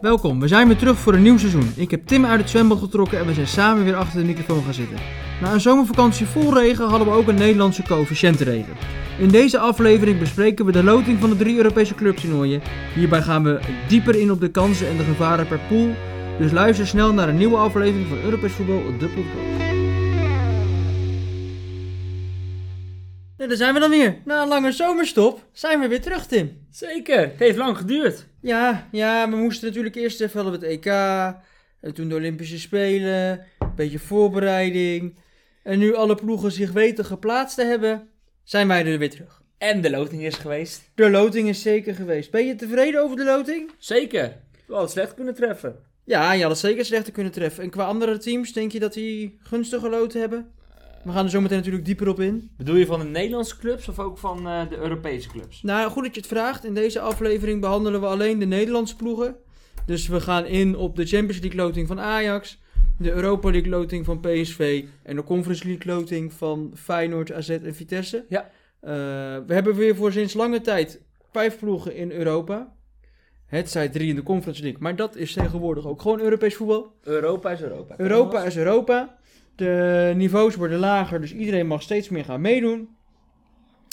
Welkom, we zijn weer terug voor een nieuw seizoen. Ik heb Tim uit het zwembad getrokken en we zijn samen weer achter de microfoon gaan zitten. Na een zomervakantie vol regen hadden we ook een Nederlandse coëfficiëntenregen. In deze aflevering bespreken we de loting van de drie Europese clubtoernooien. Hierbij gaan we dieper in op de kansen en de gevaren per pool. Dus luister snel naar een nieuwe aflevering van Europees Voetbal, de podcast. En daar zijn we dan weer. Na een lange zomerstop zijn we weer terug, Tim. Zeker, het heeft lang geduurd. Ja, ja, we moesten natuurlijk eerst even hadden we het EK, en toen de Olympische Spelen, een beetje voorbereiding. En nu alle ploegen zich weten geplaatst te hebben, zijn wij er weer terug. En de loting is geweest. De loting is zeker geweest. Ben je tevreden over de loting? Zeker, we hadden slecht kunnen treffen. Ja, je had het zeker slechter kunnen treffen. En qua andere teams, denk je dat die gunstig geloten hebben? We gaan er zo meteen natuurlijk dieper op in. Bedoel je van de Nederlandse clubs of ook van eh, de Europese clubs? Nou, goed dat je het vraagt. In deze aflevering behandelen we alleen de Nederlandse ploegen. Dus we gaan in op de Champions League loting van Ajax, de Europa League loting van PSV en de Conference League loting van Feyenoord, AZ en Vitesse. Ja. Eh, we hebben weer voor sinds lange tijd vijf ploegen in Europa. Het zij drie in de Conference League, maar dat is tegenwoordig ook gewoon Europees voetbal. Europa is Europa. Europa is Europa. De niveaus worden lager, dus iedereen mag steeds meer gaan meedoen.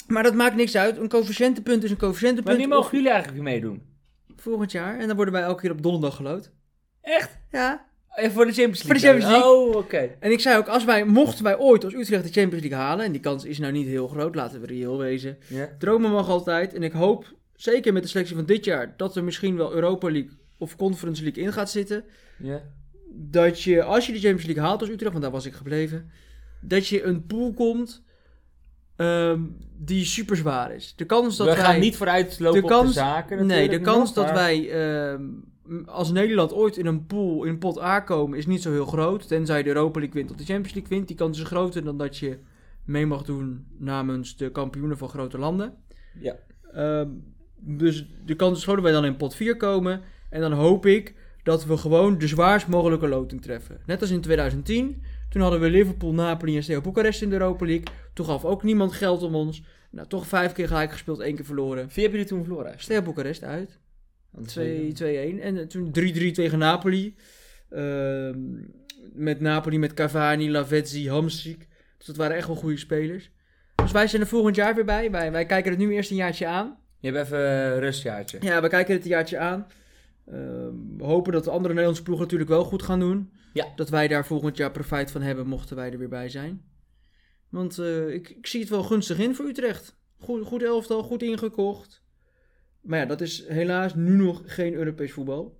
Maar dat maakt niks uit. Een coëfficiëntenpunt is een coëfficiëntenpunt. Wanneer mogen jullie eigenlijk weer meedoen? Volgend jaar. En dan worden wij elke keer op donderdag geloot. Echt? Ja. Eh, voor de Champions League? Voor de Champions dan? League. Oh, oké. En ik zei ook, als wij, mochten wij ooit als Utrecht de Champions League halen, en die kans is nou niet heel groot, laten we reëel wezen. Ja. Dromen mag altijd. En ik hoop, zeker met de selectie van dit jaar, dat er misschien wel Europa League of Conference League in gaat zitten. ja. Dat je, als je de Champions League haalt als Utrecht, want daar was ik gebleven, dat je een pool komt ehm, die super zwaar is. De kans dat we wij... gaan niet vooruitlopen de op Dus de kans- zaken Nee, de natuurlijk kans nog, dat maar- wij ehm, m- als Nederland ooit in een pool in pot A komen is niet zo heel groot. Tenzij de Europa League wint of de Champions League wint. Die kans is groter dan dat je mee mag doen namens de kampioenen van grote landen. Ja. Ehm, dus de kans is groot dat wij dan in pot 4 komen. En dan hoop ik dat we gewoon de zwaarst mogelijke loting treffen. Net als in 2010. Toen hadden we Liverpool, Napoli en Steaua Boekarest in de Europa League. Toen gaf ook niemand geld om ons. Nou, toch vijf keer gelijk gespeeld, één keer verloren. Wie hebben jullie toen verloren? eigenlijk? Steaua Boekarest uit. 2-1. En eh, toen 3-3 tegen Napoli. Ehm, met Napoli, met Cavani, Lavezzi, Hamsik. Dus dat waren echt wel goede spelers. Dus wij zijn er volgend jaar weer bij. Wij, wij kijken het nu eerst een jaartje aan. Je hebt even een rustjaartje. Ja, we kijken het een jaartje aan. Ehm, we hopen dat de andere Nederlandse ploegen natuurlijk wel goed gaan doen. Ja. Dat wij daar volgend jaar profijt van hebben, mochten wij er weer bij zijn. Want eh, ik, ik zie het wel gunstig in voor Utrecht. Goed, goed elftal, goed ingekocht. Maar ja, dat is helaas nu nog geen Europees voetbal.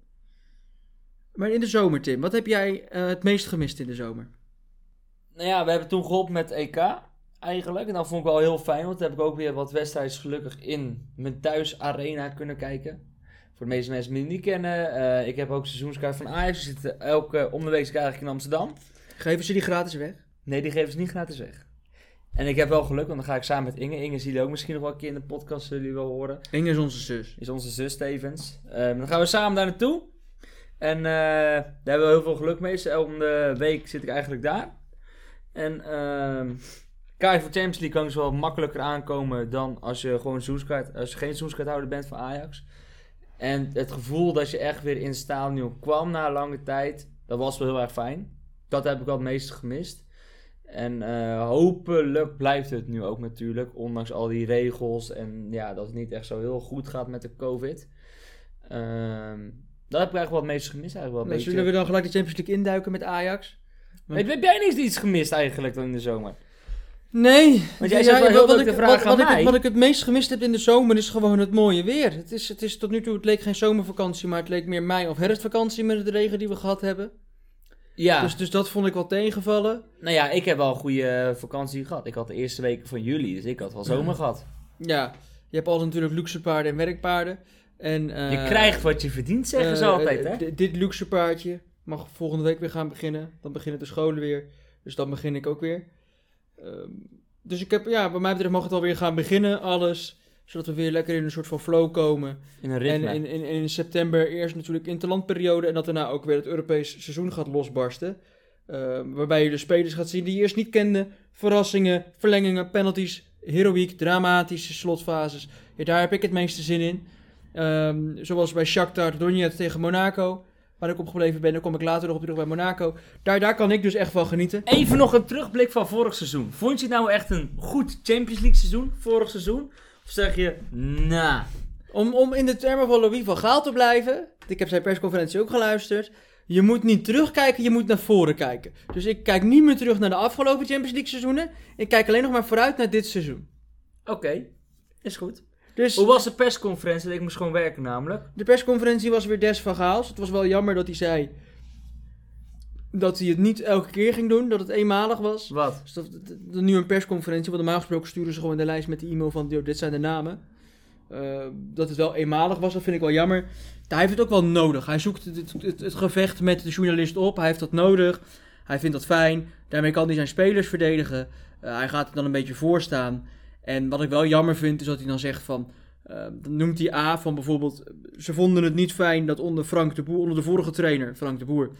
Maar in de zomer, Tim, wat heb jij eh, het meest gemist in de zomer? Nou ja, we hebben toen geholpen met EK eigenlijk. En dat vond ik wel heel fijn, want daar heb ik ook weer wat wedstrijden gelukkig in mijn thuis arena kunnen kijken. Voor de meeste mensen die het niet kennen, eh, ik heb ook seizoenskaart van Ajax. Ik zit eh, elke om de week zit ik eigenlijk in Amsterdam. Geven ze die gratis weg? Nee, die geven ze niet gratis weg. En ik heb wel geluk, want dan ga ik samen met Inge. Inge zie je ook misschien nog wel een keer in de podcast, zullen jullie wel horen. Inge is onze zus. Is onze zus Stevens. Ehm, dan gaan we samen daar naartoe. En eh, daar hebben we heel veel geluk mee. Dus Om de week zit ik eigenlijk daar. En ehm kaart voor Champions League kan dus wel makkelijker aankomen dan als je gewoon seizoenskaart, als je geen seizoenskaarthouder bent van Ajax. En het gevoel dat je echt weer in het stadion kwam na lange tijd, dat was wel heel erg fijn. Dat heb ik wel het meest gemist. En eh, hopelijk blijft het nu ook natuurlijk, ondanks al die regels en ja, dat het niet echt zo heel goed gaat met de COVID. Ehm, dat heb ik eigenlijk wel het meest gemist. Eigenlijk wel een Maar Nou, beetje. zullen we dan gelijk de Champions League induiken met Ajax? Heb, heb jij niks iets gemist eigenlijk dan in de zomer? Nee. Want jij zegt wel heel wat, leuk ik, de vraag wat, aan wat, ik, mij. wat ik het meest gemist heb in de zomer is gewoon het mooie weer. Het is, het is tot nu toe, het leek geen zomervakantie, maar het leek meer mei- of herfstvakantie met de regen die we gehad hebben. Ja, Dus, dus dat vond ik wel tegenvallen. nou ja, ik heb wel een goede vakantie gehad. Ik had de eerste weken van juli, dus ik had wel zomer gehad. Ja, je hebt altijd natuurlijk luxe paarden en werkpaarden. En, Je eh, krijgt wat je verdient, zeggen ze eh, altijd, hè? d- Dit luxe paardje mag volgende week weer gaan beginnen. Dan beginnen de scholen weer. Dus dan begin ik ook weer. Ehm, dus ik heb, ja, bij mij betreft mag het alweer gaan beginnen, alles. Zodat we weer lekker in een soort van flow komen. In een En ritme. in, in, in september eerst natuurlijk interlandperiode en dat daarna ook weer het Europees seizoen gaat losbarsten. Eh, waarbij je de spelers gaat zien die je eerst niet kende. Verrassingen, verlengingen, penalties, heroïek, dramatische slotfases. Ja, daar heb ik het meeste zin in. Ehm, zoals bij Shakhtar Donetsk tegen Monaco. Waar ik opgebleven ben, daar kom ik later nog op terug bij Monaco. Daar, daar kan ik dus echt van genieten. Even nog een terugblik van vorig seizoen. Vond je het nou echt een goed Champions League seizoen, vorig seizoen? Of zeg je, nou, Om, om in de termen van Louis van Gaal te blijven. Ik heb zijn persconferentie ook geluisterd. Je moet niet terugkijken, je moet naar voren kijken. Dus ik kijk niet meer terug naar de afgelopen Champions League seizoenen. Ik kijk alleen nog maar vooruit naar dit seizoen. oké, is goed. Dus Hoe was de persconferentie? Ik moest gewoon werken namelijk. de persconferentie was weer des van Gaals. Het was wel jammer dat hij zei dat hij het niet elke keer ging doen, dat het eenmalig was. Wat? Dus dat, dat- dat- nu een persconferentie, want normaal gesproken sturen ze gewoon de lijst met de e-mail van "Yo, dit zijn de namen. Eh, dat het wel eenmalig was, dat vind ik wel jammer. Hij heeft het ook wel nodig. Hij zoekt het, het, het, het gevecht met de journalist op. Hij heeft dat nodig. Hij vindt dat fijn. Daarmee kan hij zijn spelers verdedigen. Eh, hij gaat er dan een beetje voor staan. En wat ik wel jammer vind, is dat hij dan zegt van... eh, dan noemt hij A van bijvoorbeeld... Ze vonden het niet fijn dat onder Frank de Boer, onder de vorige trainer, Frank de Boer...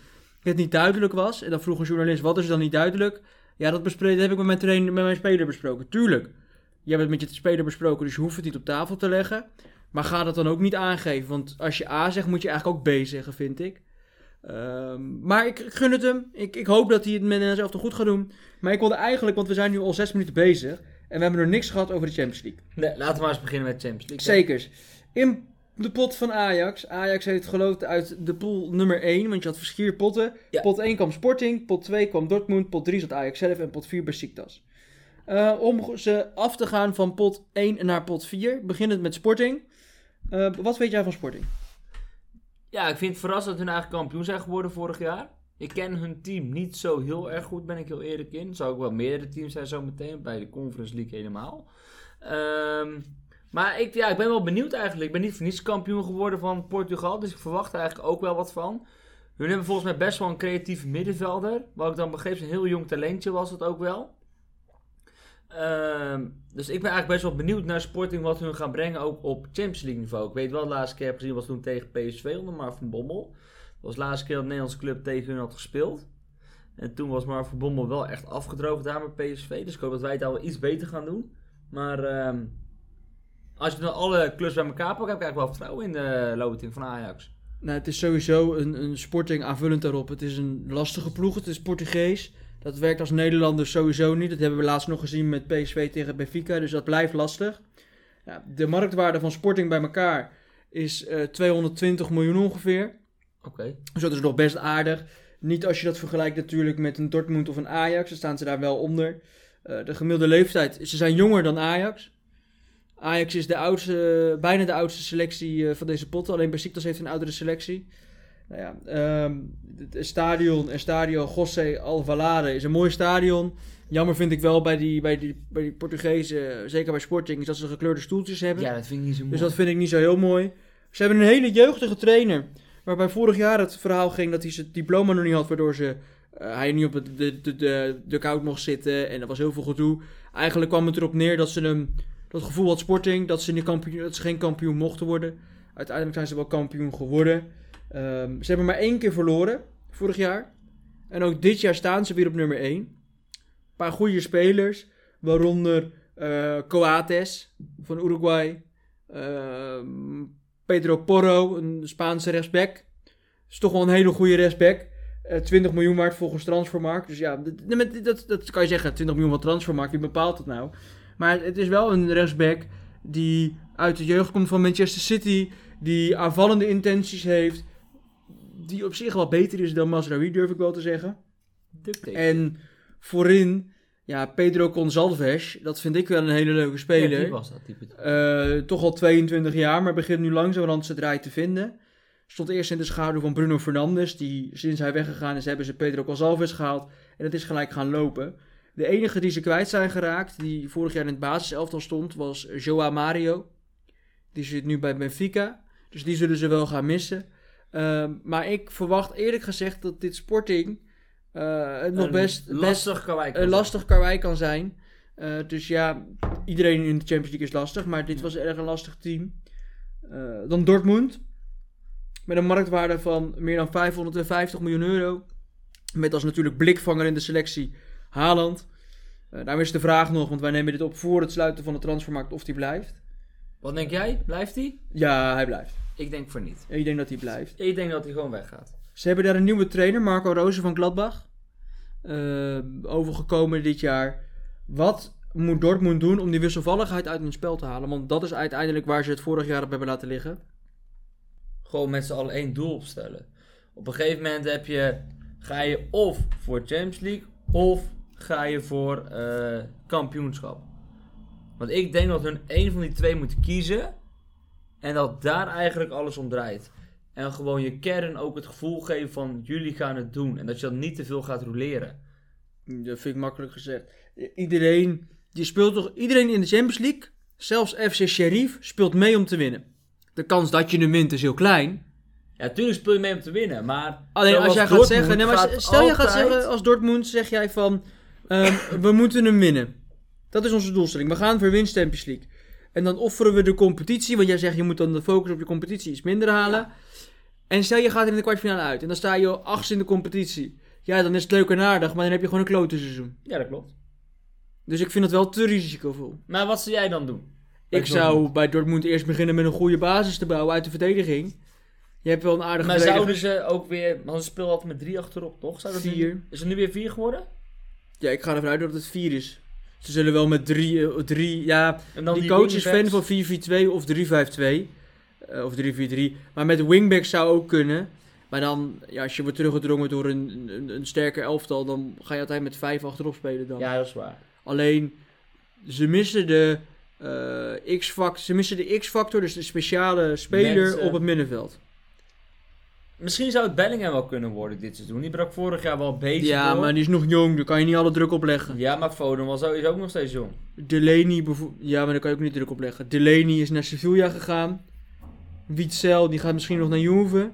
het niet duidelijk was. En dan vroeg een journalist, wat is er dan niet duidelijk? Ja, dat, bespre- dat heb ik met mijn, trainer, met mijn speler besproken. Tuurlijk. Je hebt het met je speler besproken, dus je hoeft het niet op tafel te leggen. Maar ga dat dan ook niet aangeven. Want als je A zegt, moet je eigenlijk ook B zeggen, vind ik. Ehm, maar ik gun het hem. Ik, ik hoop dat hij het met zichzelf goed gaat doen. Maar ik wilde eigenlijk, want we zijn nu al zes minuten bezig. En we hebben er niks gehad over de Champions League. Nee, laten we maar eens beginnen met Champions League. Zekers. In de pot van Ajax. Ajax heeft geloofd uit de pool nummer 1, want je had verschier potten. Ja. Pot 1 kwam Sporting, pot 2 kwam Dortmund, pot 3 zat Ajax zelf en pot 4 Besiktas. Eh om ze af te gaan van pot 1 naar pot 4, beginnend met Sporting. Eh, wat weet jij van Sporting? Ja, ik vind het verrassend dat hun eigenlijk kampioen zijn geworden vorig jaar. Ik ken hun team niet zo heel erg goed, ben ik heel eerlijk in. Er zou ook wel meerdere teams zijn zometeen, bij de Conference League helemaal. Ehm, maar ik, ja, ik ben wel benieuwd eigenlijk. Ik ben niet voor niets kampioen geworden van Portugal, dus ik verwacht er eigenlijk ook wel wat van. Hun hebben volgens mij best wel een creatieve middenvelder. Wat ik dan begreep, is een heel jong talentje was het ook wel. Ehm, dus ik ben eigenlijk best wel benieuwd naar Sporting wat hun gaan brengen, ook op Champions League niveau. Ik weet wel, de laatste keer heb ik gezien was toen tegen PSV onder Mark van Bommel. Dat was de laatste keer dat de Nederlandse club tegen hun had gespeeld. En toen was Mark van Bommel wel echt afgedroogd daar met PSV. Dus ik hoop dat wij het al wel iets beter gaan doen. Maar ehm, als je dan alle clubs bij elkaar pakt, heb ik eigenlijk wel vertrouwen in de loting van Ajax. Nou, het is sowieso een, een Sporting aanvullend daarop. Het is een lastige ploeg, het is Portugees. Dat werkt als Nederlanders sowieso niet. Dat hebben we laatst nog gezien met PSV tegen Benfica, dus dat blijft lastig. Ja, de marktwaarde van Sporting bij elkaar is eh, 220 miljoen ongeveer. Oké. Dus dat is nog best aardig. Niet als je dat vergelijkt natuurlijk met een Dortmund of een Ajax. Dan staan ze daar wel onder. Eh, de gemiddelde leeftijd, ze zijn jonger dan Ajax. Ajax is de oudste, bijna de oudste selectie eh, van deze pot. Alleen Besiktas heeft een oudere selectie. Nou ja, ehm, het stadion, Estadio José Alvalade is een mooi stadion. Jammer vind ik wel bij die, bij die, bij die Portugezen, zeker bij Sporting, is dat ze gekleurde stoeltjes hebben. Ja, dat vind ik niet zo mooi. Dus dat vind ik niet zo heel mooi. Ze hebben een hele jeugdige trainer. Waarbij vorig jaar het verhaal ging dat hij zijn diploma nog niet had. Waardoor ze, eh, hij niet op het- de, de, de, de koud mocht zitten. En dat was heel veel gedoe. Eigenlijk kwam het erop neer dat ze hem, dat gevoel had sporting. Dat ze, in de kampioen, dat ze geen kampioen mochten worden. Uiteindelijk zijn ze wel kampioen geworden. Ehm, ze hebben maar één keer verloren. Vorig jaar. En ook dit jaar staan ze weer op nummer 1. Een paar goede spelers. Waaronder eh, Coates van Uruguay. Ehm, Pedro Porro, een Spaanse rechtsback. Is toch wel een hele goede rechtsback. Eh, 20 miljoen waard volgens Transfermarkt. Dus ja, dit- nee, maar dit- dat, dat kan je zeggen. 20 miljoen van Transfermarkt, wie bepaalt dat nou? Maar het is wel een rechtsback die uit de jeugd komt van Manchester City. Die aanvallende intenties heeft. Die op zich wel beter is dan Masraoui, durf ik wel te zeggen. Duct tape. En voorin, ja, Pedro Gonçalves. Dat vind ik wel een hele leuke speler. Ja, die was dat type. Eh, toch al 22 jaar, maar begint nu langzamerhand zijn draai te vinden. Stond eerst in de schaduw van Bruno Fernandes, die sinds hij weggegaan is, hebben ze Pedro Gonçalves gehaald. En het is gelijk gaan lopen. De enige die ze kwijt zijn geraakt, die vorig jaar in het basiselftal stond, was Joao Mario. Die zit nu bij Benfica, dus die zullen ze wel gaan missen. Ehm, maar ik verwacht eerlijk gezegd dat dit Sporting eh, het nog Een best, best lastig kan wij een eh, lastig karwei kan zijn. Eh, dus ja, iedereen in de Champions League is lastig, maar dit was erg een lastig team. Eh, dan Dortmund, met een marktwaarde van meer dan 550 miljoen euro. Met als natuurlijk blikvanger in de selectie nou Haaland. Eh daarom is de vraag nog, want wij nemen dit op voor het sluiten van de transfermarkt, of die blijft. Wat denk jij? Blijft hij? Ja, hij blijft. Ik denk voor niet. Ik denk dat hij blijft. Ik denk dat hij gewoon weggaat. Ze hebben daar een nieuwe trainer, Marco Rozen van Gladbach, eh, overgekomen dit jaar. Wat moet Dortmund doen om die wisselvalligheid uit hun spel te halen? Want dat is uiteindelijk waar ze het vorig jaar op hebben laten liggen. Gewoon met z'n allen één doel opstellen. Op een gegeven moment heb je, ga je of voor Champions League of ga je voor eh, kampioenschap. Want ik denk dat hun één van die twee moet kiezen. En dat daar eigenlijk alles om draait. En gewoon je kern ook het gevoel geven van jullie gaan het doen. En dat je dan niet te veel gaat roleren. Dat vind ik makkelijk gezegd. I- Iedereen, die speelt toch, iedereen in de Champions League, zelfs FC Sheriff, speelt mee om te winnen. De kans dat je hem wint is heel klein. Ja, natuurlijk speel je mee om te winnen, maar... Alleen als zoals jij gaat Dortmund zeggen, nee, maar gaat stel je gaat altijd- zeggen als Dortmund, zeg jij van, ehm, we moeten hem winnen. Dat is onze doelstelling. We gaan voor winst Champions League. En dan offeren we de competitie, want jij zegt je moet dan de focus op je competitie iets minder halen. En stel je gaat er in de kwartfinale uit en dan sta je achtste in de competitie. Ja, dan is het leuk en aardig, maar dan heb je gewoon een klote seizoen. Ja, dat klopt. Dus ik vind dat wel te risicovol. Maar wat zou jij dan doen? Ik zou bij Dortmund eerst beginnen met een goede basis te bouwen uit de verdediging. Je hebt wel een aardige Maar verdediger. zouden ze ook weer... Want ze speelden altijd met drie achterop, toch? Zou dat nu- Vier. is het nu weer vier geworden? Ja, ik ga ervan uit dat het 4 is. Ze zullen wel met 3... eh, drie ja, En die, coach is fan van 4-4-2 of 3-5-2. eh, of 3-4-3. Maar met wingback zou ook kunnen. Maar dan, ja, als je wordt teruggedrongen door een, een, een sterker elftal... dan ga je altijd met 5 achterop spelen dan. Ja, heel zwaar. Alleen, ze missen de... eh, X-factor, ze missen de X-factor, dus de speciale speler Mensen. op het middenveld. Misschien zou het Bellingham wel kunnen worden dit seizoen. Die brak vorig jaar wel een beetje Ja, door. maar die is nog jong, daar kan je niet alle druk op leggen. Ja, maar Foden was ook, is ook nog steeds jong. Delaney bijvoorbeeld, ja, maar daar kan je ook niet druk op leggen. Delaney is naar Sevilla gegaan. Witzel, die gaat misschien nog naar Juve.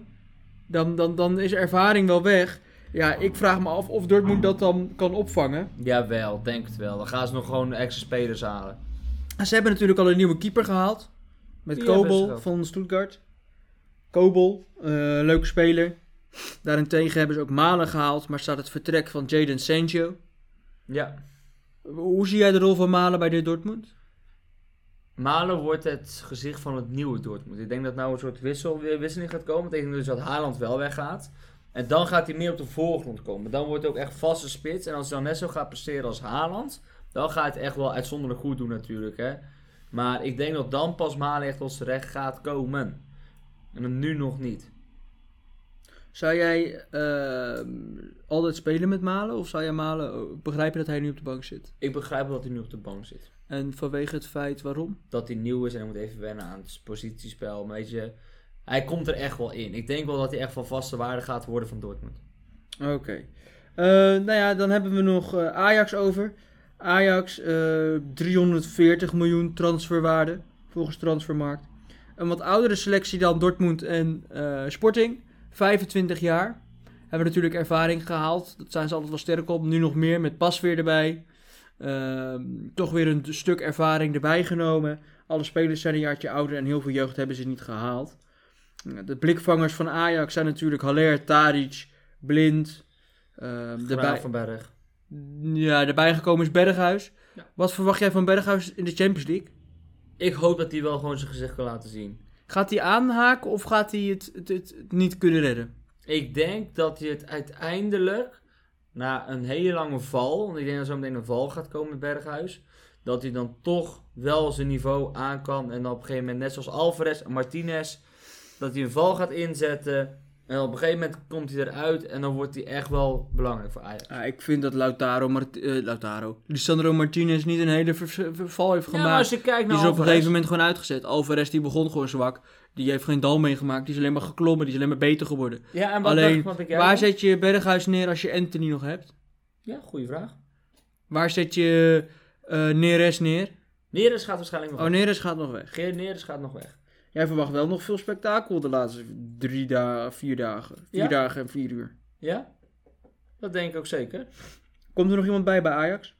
Dan, dan, dan is ervaring wel weg. Ja, ik vraag me af of Dortmund dat dan kan opvangen. Jawel, denk het wel. Dan gaan ze nog gewoon extra spelers halen. En Ah, Ze hebben natuurlijk al een nieuwe keeper gehaald. Met Ja, best Kobel wel. van Stuttgart. Kobel, eh, leuke speler. Daarentegen hebben ze ook Malen gehaald, maar staat het vertrek van Jadon Sancho. Ja. Hoe zie jij de rol van Malen bij dit Dortmund? Malen wordt het gezicht van het nieuwe Dortmund. Ik denk dat nou een soort wissel, wisseling gaat komen. Dat betekent dus dat Haaland wel weggaat. En dan gaat hij meer op de voorgrond komen. Dan wordt het ook echt vaste spits. En als hij dan net zo gaat presteren als Haaland... dan gaat het echt wel uitzonderlijk goed doen natuurlijk. Hè? Maar ik denk dat dan pas Malen echt tot zijn recht gaat komen. En dan nu nog niet. Zou jij ehm, altijd spelen met Malen? Of zou jij Malen ook begrijpen dat hij nu op de bank zit? Ik begrijp wel dat hij nu op de bank zit. En vanwege het feit waarom? dat hij nieuw is en hij moet even wennen aan het positiespel. Maar weet je, hij komt er echt wel in. Ik denk wel dat hij echt van vaste waarde gaat worden van Dortmund. Oké. Eh, nou ja, dan hebben we nog eh, Ajax over. Ajax, eh, 340 miljoen transferwaarde volgens Transfermarkt. Een wat oudere selectie dan Dortmund en eh, Sporting. 25 jaar. Hebben natuurlijk ervaring gehaald. Dat zijn ze altijd wel sterk op. Nu nog meer met pas weer erbij. Ehm, toch weer een stuk ervaring erbij genomen. Alle spelers zijn een jaartje ouder en heel veel jeugd hebben ze niet gehaald. De blikvangers van Ajax zijn natuurlijk Haller, Tadic, Blind. Ehm Graaf daarbij, van Berg. ja, daarbij gekomen is Berghuis. Ja. Wat verwacht jij van Berghuis in de Champions League? Ik hoop dat hij wel gewoon zijn gezicht kan laten zien. Gaat hij aanhaken of gaat hij het, het, het- het niet kunnen redden? Ik denk dat hij het uiteindelijk, na een hele lange val, want ik denk dat zo meteen een val gaat komen met Berghuis, dat hij dan toch wel zijn niveau aan kan. En dan op een gegeven moment, net zoals Alvarez en Martinez, dat hij een val gaat inzetten. En op een gegeven moment komt hij eruit en dan wordt hij echt wel belangrijk voor Ajax. ik vind dat Lautaro, Mart eh, Lautaro. Lisandro Martinez niet een hele vers- verval heeft Ja, maar gemaakt. als je nou, kijkt die naar is op een gegeven Alvarez, moment gewoon uitgezet. Alvarez die begon gewoon zwak. Die heeft geen dal meegemaakt. Die is alleen maar geklommen. Die is alleen maar beter geworden. Ja, en wat Alleen, dacht, wat ik waar zet je Berghuis neer als je Anthony nog hebt? Ja, goede vraag. Waar zet je eh Neres neer? Neres gaat waarschijnlijk nog Oh, weg. Neres gaat nog weg. Geert Neres gaat nog weg. Jij verwacht wel nog veel spektakel de laatste drie dagen, vier dagen. Vier Ja. dagen en vier uur. Ja? Dat denk ik ook zeker. Komt er nog iemand bij bij Ajax?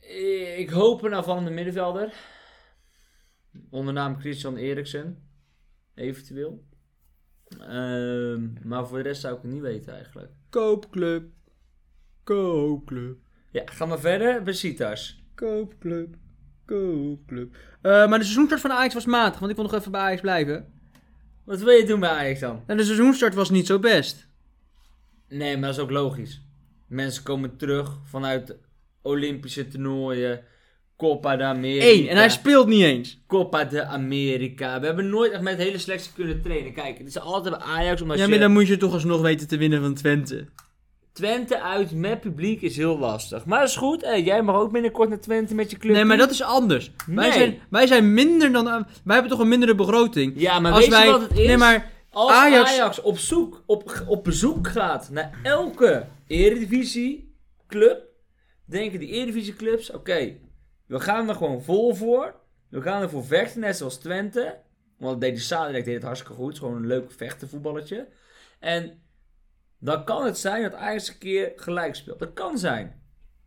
Eh, Ik hoop een aanvallende middenvelder. Onder naam Christian Eriksen. Eventueel. Ehm, maar voor de rest zou ik het niet weten eigenlijk. Koopclub. Koopclub. Ja, gaan we verder. Besitas. Koopclub. Go Club. Eh, maar de seizoenstart van Ajax was matig, want ik wil nog even bij Ajax blijven. Wat wil je doen bij Ajax dan? En de seizoenstart was niet zo best. Nee, maar dat is ook logisch. Mensen komen terug vanuit Olympische toernooien, Copa de America. Eén, en hij speelt niet eens. Copa de America. We hebben nooit echt met de hele selectie kunnen trainen. Kijk, het is altijd bij Ajax omdat Ja, je... maar dan moet je toch alsnog weten te winnen van Twente. Twente uit met publiek is heel lastig. Maar dat is goed. Hey, jij mag ook binnenkort naar Twente met je club. Nee, maar dat is anders. Wij, Nee. zijn, wij zijn minder dan... Wij hebben toch een mindere begroting. Ja, maar Als weet wij, je wat het is? Nee, maar Als Ajax- Ajax, op, zoek, op, op bezoek gaat naar elke Eredivisie-club, denken die Eredivisie-clubs, oké, we gaan er gewoon vol voor. We gaan ervoor vechten, net zoals Twente. Want dat deed de Sadek deed het hartstikke goed. Het is gewoon een leuk vechtenvoetballetje. En dan kan het zijn dat Ajax een keer gelijk speelt. Dat kan zijn.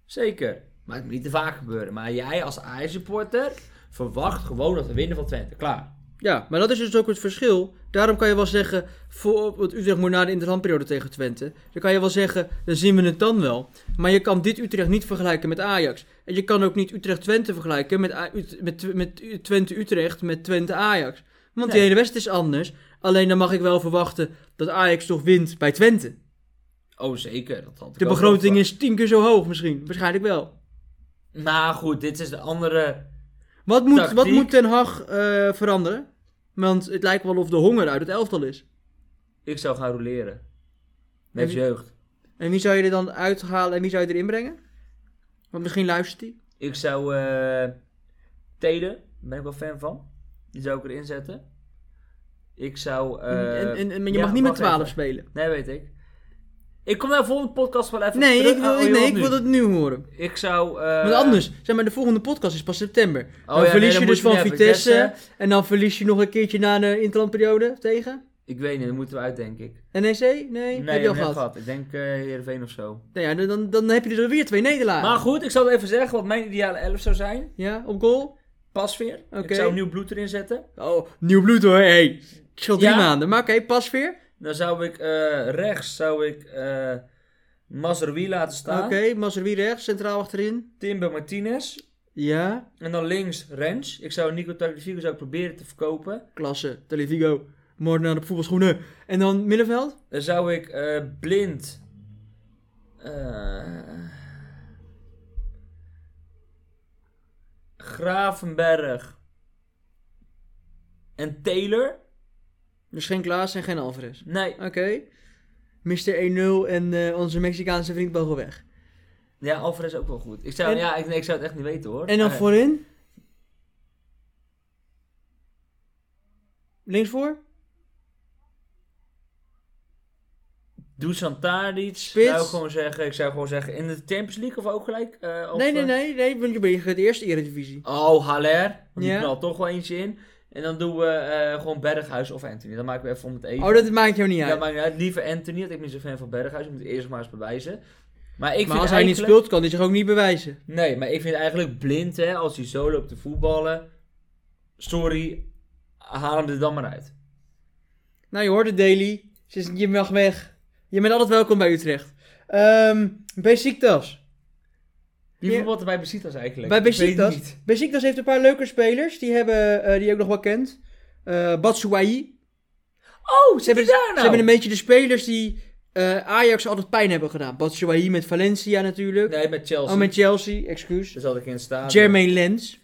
Zeker. Maar het moet niet te vaak gebeuren. Maar jij als Ajax-supporter verwacht gewoon dat we winnen van Twente. Klaar. Ja, maar dat is dus ook het verschil. Daarom kan je wel zeggen, voor, want Utrecht moet na de interlandperiode tegen Twente. Dan kan je wel zeggen, dan zien we het dan wel. Maar je kan dit Utrecht niet vergelijken met Ajax. En je kan ook niet Utrecht-Twente vergelijken met, A- Ut- met, Tw- met U- Twente-Utrecht met Twente-Ajax. Want die Nee. hele wedstrijd is anders. Alleen dan mag ik wel verwachten dat Ajax toch wint bij Twente. Oh, zeker. Dat had ik De ook begroting wel is tien keer zo hoog misschien. Waarschijnlijk wel. Maar Nou goed, dit is de andere. Wat moet, wat Tactiek. moet Ten Hag eh, veranderen? Want het lijkt wel of de honger uit het elftal is. Ik zou gaan roleren. Heb Met je- jeugd. En wie zou je er dan uithalen en wie zou je erin brengen? Want misschien luistert hij. Ik zou. eh Teden, daar ben ik wel fan van. Die zou ik erin zetten. Ik zou. eh, en, en, en- maar je ja, mag niet met wacht 12 even. spelen. Nee, weet ik. Ik kom daar volgende podcast wel even Nee, op terug. ik wil, Oh, ik, je nee, wilt ik nu. wil dat nu horen. Ik zou. eh, Want anders, zeg maar, de volgende podcast is pas september. Oh dan ja, verlies je nee, dan dus moet van je weer Vitesse, Vitesse. En dan verlies je nog een keertje na de interlandperiode tegen. Ik weet niet, dat moeten we uit, denk ik. NEC? Nee, nee heb je al ik gehad. Ik denk eh Heerenveen of zo. Nou ja, dan- dan, dan heb je er weer twee nederlagen. Maar goed, ik zal even zeggen wat mijn ideale elf zou zijn. Ja, op goal? Pasveer. Oké. Ik zou nieuw bloed erin zetten. Oh, nieuw bloed hoor. Hey, het is al drie Ja. maanden. Maar oké, pas weer. Dan zou ik eh, rechts zou ik eh Mazraoui laten staan. Oké, Mazerwi rechts, centraal achterin. Timber Martinez. Ja, En dan links Rens. Ik zou Nico Tagliafico zou ik proberen te verkopen. klasse. Televigo, moordenaar op voetbalschoenen. En dan middenveld? Dan zou ik eh, blind. eh, Gravenberg. En Taylor. Dus geen Klaas en geen Alvarez. Nee, Oké. Mr. 1-0 en eh, onze Mexicaanse vriend Bogo weg. ja, Alvarez ook wel goed. Ik zou, En- ja, ik, nee, ik zou het echt niet weten hoor. En dan Ah, voorin? Links voor? Dusan Tadic, Spits. zou ik gewoon zeggen. Ik zou gewoon zeggen, in de Champions League of ook gelijk? eh, of, Nee, nee, eh, nee, nee, want je bent het eerste Eredivisie. Oh, Haller. Want Die Ja. knalt toch wel eentje in. En dan doen we eh, gewoon Berghuis of Anthony. Dan maken we even om het even. Oh, dat maakt jou niet Ja, uit. maakt niet uit. Liever Anthony, want ik ben niet zo fan van Berghuis. Ik moet het eerst maar eens bewijzen. Maar, ik maar als vind hij niet eigenlijk- speelt, kan hij zich ook niet bewijzen. Nee, maar ik vind eigenlijk blind, hè, als hij zo loopt te voetballen. Sorry, haal hem er dan maar uit. Nou, je hoort het, Daily. Je mag weg. Je bent altijd welkom bij Utrecht. Ehm Besiktas. Wie Ja. voetbalt er bij Besiktas eigenlijk? Bij Ik weet het Besiktas, niet. Besiktas heeft een paar leuke spelers. Die hebben eh, die je ook nog wel kent. Eh Batshuayi. Ze Oh, zit hebben, hij daar nou? ze hebben een beetje de spelers die eh, Ajax altijd pijn hebben gedaan. Batshuayi met Valencia natuurlijk. Nee, met Chelsea. Oh, met Chelsea, excuus. Dus had ik in het stadion. Jermaine Lens.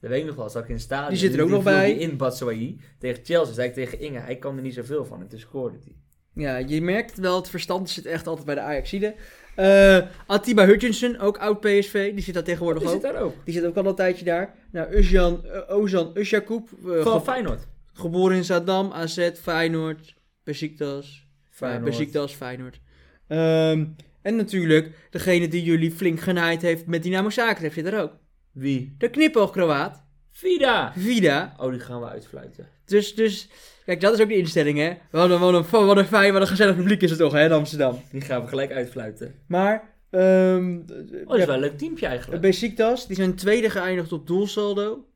Dat weet ik nog wel, zat ik in het stadion. Die zit er ook Die nog viel bij. die In Batshuayi tegen Chelsea, zei ik tegen Inge, hij kan er niet zoveel van. En toen scoorde hij. Ja, je merkt wel, het verstand zit echt altijd bij de Ajaxide. Eh Atiba Hutchinson, ook oud PSV. Die zit daar tegenwoordig Die ook. Eh, zit daar ook. Die zit ook al een tijdje daar. Nou, Özjan, eh, Ozan Usjakoub. eh, Van ge- Feyenoord. geboren in Saddam, AZ, Feyenoord, Besiktas. Feyenoord. Feyenoord. Besiktas, Feyenoord. Ehm, en natuurlijk, degene die jullie flink genaaid heeft met Dynamo Zagreb zit er ook. Wie? De knipoogkroaat, Vida. Vida. Oh, die gaan we uitfluiten. Dus, dus, kijk, dat is ook de instelling, hè. Wat een, wat een, wat een fijn, wat een gezellig publiek is het toch, hè, in Amsterdam. Die gaan we gelijk uitfluiten. Maar, ehm Oh, dat is wel een leuk teampje eigenlijk. Besiktas, die zijn tweede geëindigd op doelsaldo.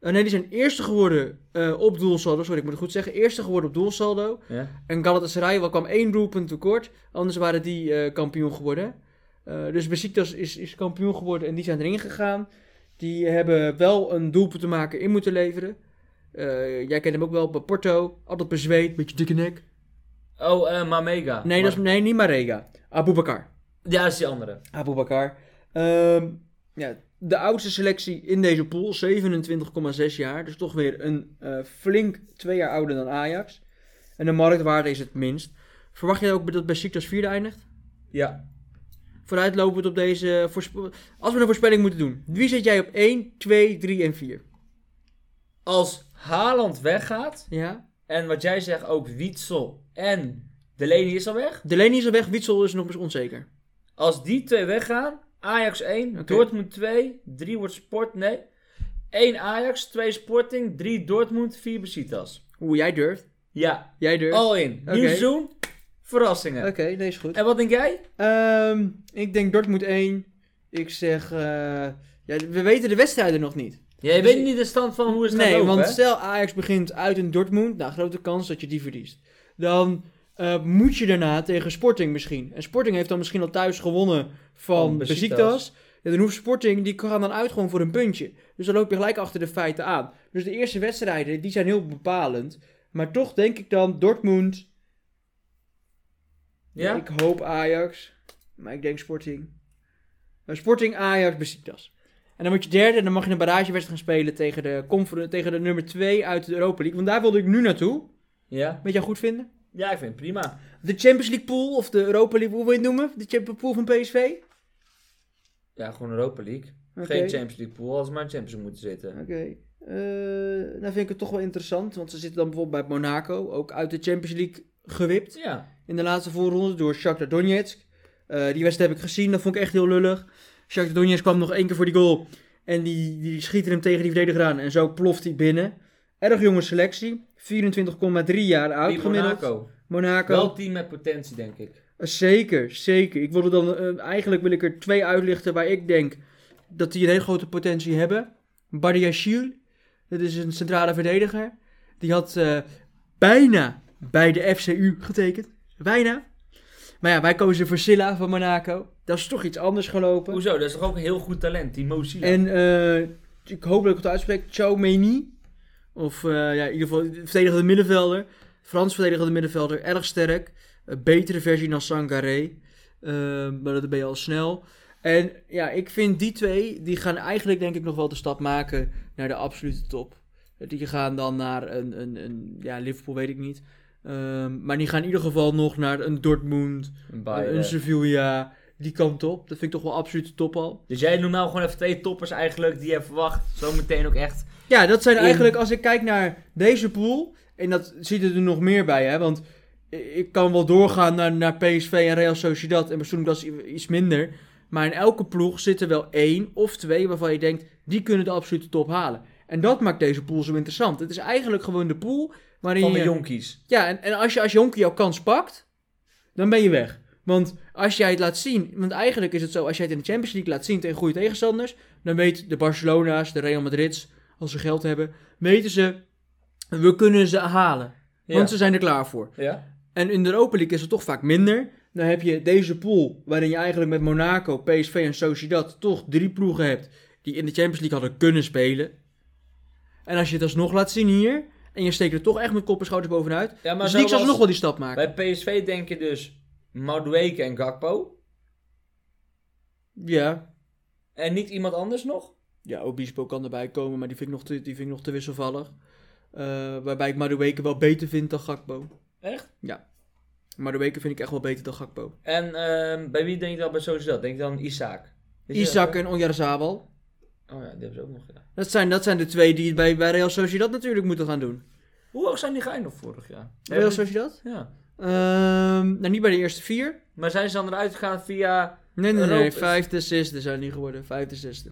Eh, nee, die zijn eerste geworden eh, op doelsaldo. Sorry, ik moet het goed zeggen. Eerste geworden op doelsaldo. Ja. En Galatasaray wel kwam één doelpunt tekort. Anders waren die eh, kampioen geworden. Eh, dus Besiktas is, is kampioen geworden en die zijn erin gegaan. Die hebben wel een doelpunt te maken in moeten leveren. Eh, jij kent hem ook wel bij Porto. Altijd bezweet, beetje dikke nek. Oh, eh Mamega. Nee, dat is, nee niet Marega. Aboubakar. Ja, dat is die andere. Aboubakar. Ehm ja, de oudste selectie in deze pool, 27,6 jaar. Dus toch weer een eh, flink twee jaar ouder dan Ajax. En de marktwaarde is het minst. Verwacht jij ook dat Besiktas vierde eindigt? Ja. Vooruitlopend op deze... voorspe- Als we een voorspelling moeten doen. Wie zet jij op 1, 2, 3 en 4? Als Haaland weggaat, Ja? en wat jij zegt ook Wietsel en Delaney is al weg. Delaney is al weg, Witsel is nog eens onzeker. Als die twee weggaan, Ajax 1, Oké. Dortmund 2, 3 wordt Sport, nee. 1 Ajax, 2 Sporting, 3 Dortmund, 4 Besiktas. Oeh, jij durft. Ja, Jij durft. all in. Nieuw Oké. seizoen, verrassingen. Oké, nee is goed. En wat denk jij? Ehm, ik denk Dortmund 1. Ik zeg... eh, ja, we weten de wedstrijden nog niet. Jij Dus weet niet de stand van hoe het nee, gaat lopen, want hè? stel Ajax begint uit in Dortmund, nou grote kans dat je die verliest. Dan eh, moet je daarna tegen Sporting misschien. En Sporting heeft dan misschien al thuis gewonnen van Van Beşiktaş. Besiktas. Ja, dan hoeft Sporting, die gaan dan uit gewoon voor een puntje. Dus dan loop je gelijk achter de feiten aan. Dus de eerste wedstrijden, die zijn heel bepalend. Maar toch denk ik dan Dortmund. Ja? Ik hoop Ajax. Maar ik denk Sporting. Maar Sporting, Ajax, Besiktas. En dan word je derde en dan mag je een barragewedstrijd gaan spelen tegen de, confer- tegen de nummer 2 uit de Europa League. Want daar wilde ik nu naartoe. Ja? Met jou goed vinden? ja, ik vind het prima. De Champions League pool of de Europa League, hoe wil je het noemen? De Champions Pool van PSV? Ja, gewoon Europa League. Oké. Geen Champions League pool, als maar in Champions League moeten zitten. Oké. Eh, nou vind ik het toch wel interessant. Want ze zitten dan bijvoorbeeld bij Monaco. Ook uit de Champions League gewipt. Ja, in de laatste voorronde door Shakhtar Donetsk. Eh, die wedstrijd heb ik gezien, dat vond ik echt heel lullig. Shakhtar Donetsk kwam nog één keer voor die goal. En die, die schieten hem tegen die verdediger aan. En zo ploft hij binnen. Erg jonge selectie. 24,3 jaar oud die gemiddeld. Monaco. Monaco. Wel team met potentie, denk ik. Eh, Zeker, zeker. Ik wilde dan, eh, eigenlijk wil ik er twee uitlichten waar ik denk dat die een hele grote potentie hebben. Badiashil, dat is een centrale verdediger. Die had eh, bijna bij de FCU getekend. Bijna. Maar ja, wij kozen voor Silla van Monaco. Dat is toch iets anders gelopen. Hoezo? Dat is toch ook een heel goed talent, die Mo Silla. En eh, ik hoop dat ik het uitspreek. Chouameni. Of eh, ja, in ieder geval de verdedigende middenvelder. Frans verdedigende middenvelder. Erg sterk. Een betere versie dan Sangaré. Eh, maar dat ben je al snel. En ja, ik vind die twee, die gaan eigenlijk denk ik nog wel de stap maken naar de absolute top. Die gaan dan naar een, een, een ja, Liverpool weet ik niet. Ehm, maar die gaan in ieder geval nog naar een Dortmund, Een eh. Bayern. een Sevilla, die kant op. Dat vind ik toch wel absolute top al. Dus jij noemt nou gewoon even twee toppers eigenlijk die je verwacht. Zometeen ook echt. Ja, dat zijn In- eigenlijk, als ik kijk naar deze pool, en dat zitten er nog meer bij, hè, want i- ik kan wel doorgaan naar, naar PSV en Real Sociedad en Barcelona, dat is i- iets minder. Maar in elke ploeg zitten wel één of twee waarvan je denkt, die kunnen de absolute top halen. En dat maakt deze pool zo interessant. Het is eigenlijk gewoon de pool waarin Van de je... jonkies. Ja, en, en als je als jonkie jouw kans pakt, dan ben je weg. Want als jij het laat zien, want eigenlijk is het zo, als jij het in de Champions League laat zien tegen goede tegenstanders, dan weet de Barcelona's, de Real Madrid's, als ze geld hebben, weten ze, we kunnen ze halen. Ja. Want ze zijn er klaar voor. ja. En in de Europa League is het toch vaak minder. Dan heb je deze pool, waarin je eigenlijk met Monaco, PSV en Sociedad toch drie ploegen hebt die in de Champions League hadden kunnen spelen. En als je het alsnog laat zien hier, en je steekt er toch echt met kop en schouders bovenuit, ja maar dus die zal zoals nog wel die stap maken. Bij PSV denk je dus Madueke en Gakpo. Ja. En niet iemand anders nog? Ja, Obispo kan erbij komen, maar die vind ik nog te, die vind ik nog te wisselvallig. Eh, waarbij ik Madueke wel beter vind dan Gakpo. Echt? Madueke vind ik echt wel beter dan Gakpo. En ehm, bij wie denk je dan bij Sociedad? Denk je dan Isaac? Is Isaac en Onyarzabal. dat- Oh ja, die hebben ze ook nog gedaan. Dat zijn, dat zijn de twee die het bij, bij Real Sociedad natuurlijk moeten gaan doen. Hoe hoog zijn die geëindigd vorig jaar? Real Sociedad? Ja. Ehm nou, niet bij de eerste vier. Maar zijn ze dan eruit gegaan via... Nee, nee, nee. Europa. Vijfde, zesde zijn die geworden. Vijfde, zesde.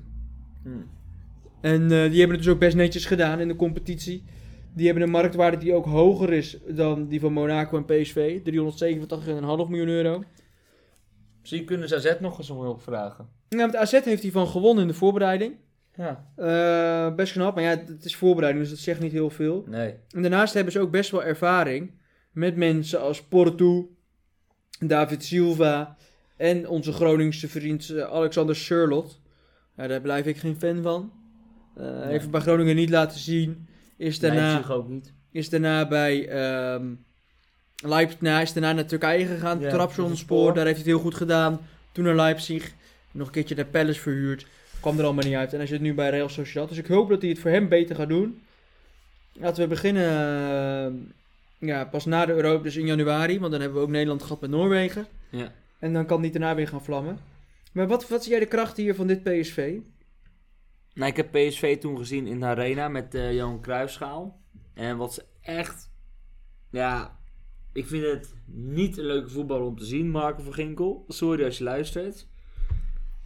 Hmm. En eh, die hebben het dus ook best netjes gedaan in de competitie. Die hebben een marktwaarde die ook hoger is dan die van Monaco en PSV. 387,5 miljoen euro. Misschien kunnen ze AZ nog eens om hulp vragen. Nou, met AZ heeft hij van gewonnen in de voorbereiding. Ja. Eh, best knap, maar ja, het- het is voorbereiding, dus dat zegt niet heel veel. Nee. En daarnaast hebben ze ook best wel ervaring met mensen als Porto, David Silva en onze Groningse vriend eh, Alexander Sherlot. Ja, daar blijf ik geen fan van. Eh, Nee. Even bij Groningen niet laten zien. Is Dus daarna, Leipzig ook niet. is daarna bij ehm Leipzig nou, hij is daarna naar Turkije gegaan. Ja, Trabzonspoor, Trabzonspor. daar heeft hij het heel goed gedaan. Toen naar Leipzig. Nog een keertje naar Palace verhuurd. Kwam er allemaal niet uit. En hij zit nu bij Real Sociedad. Dus ik hoop dat hij het voor hem beter gaat doen. Laten we beginnen ehm, ja, pas na de Europa, dus in januari. Want dan hebben we ook Nederland gehad met Noorwegen. Ja. En dan kan die daarna weer gaan vlammen. Maar wat, wat zie jij de krachten hier van dit PSV? Nou, ik heb PSV toen gezien in de arena met eh Johan Cruijffschaal. En wat ze echt... Ja, ik vind het niet een leuke voetbal om te zien, Marco van Ginkel. Sorry als je luistert.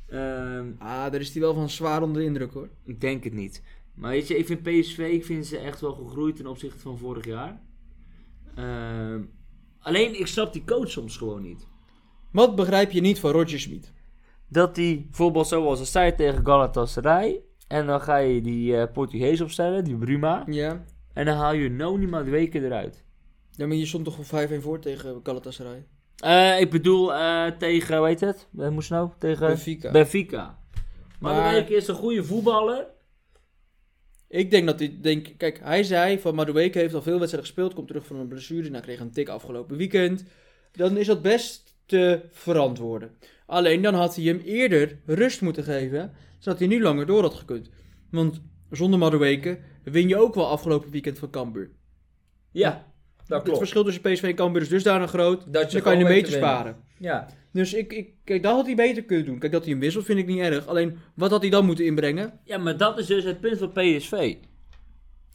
Ehm, Ah, daar is hij wel van zwaar onder de indruk hoor. ik denk het niet. Maar weet je, ik vind PSV, ik vind ze echt wel gegroeid ten opzichte van vorig jaar. Ehm, alleen, ik snap die coach soms gewoon niet. Wat begrijp je niet van Roger Smit? dat die bijvoorbeeld zoals een zij tegen Galatasaray. En dan ga je die eh, Portugees opstellen, die Bruma. Ja. En dan haal je Nonima de weken eruit. ja, maar je stond toch wel 5-1 voor tegen Galatasaray? Eh, ik bedoel eh, tegen, weet het? Eh, moest nou? Tegen Benfica. Benfica. Maar, Maar- maar... Weken is een goede voetballer. Ik denk dat hij, denk, kijk, hij zei van Madueke heeft al veel wedstrijden gespeeld, komt terug van een blessure, nou kreeg een tik afgelopen weekend. Dan is dat best te verantwoorden. Alleen dan had hij hem eerder rust moeten geven, zodat hij nu langer door had gekund. Want zonder Madueke win je ook wel afgelopen weekend van Cambuur. Ja, dat Het klopt. verschil tussen PSV en Cambuur is dusdanig groot, Dat dan kan je een gewoon beetje weet te winnen. sparen. Ja. Dus ik, ik, kijk, dat had hij beter kunnen doen. Kijk, dat hij hem wisselt vind ik niet erg. Alleen, wat had hij dan moeten inbrengen? ja, maar dat is dus het punt van PSV.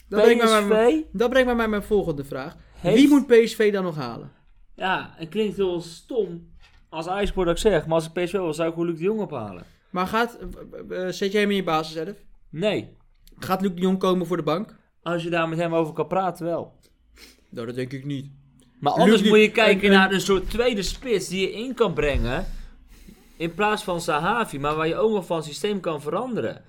Dat brengt mij bij, mijn- PSV, dat brengt mij bij mijn volgende vraag. Heeft- Wie moet PSV dan nog halen? ja, het klinkt heel stom als IJsboer dat ik zeg. Maar als ik PSV was, zou ik gewoon Luc de Jong ophalen. Maar gaat, eh, eh, zet jij hem in je basiself? Nee, Gaat Luc de Jong komen voor de bank? Als je daar met hem over kan praten, wel. Nou, dat denk ik niet. Maar anders Luc, moet je Luc, kijken een- naar een soort tweede spits die je in kan brengen. In plaats van Sahavi, maar waar je ook nog van systeem kan veranderen.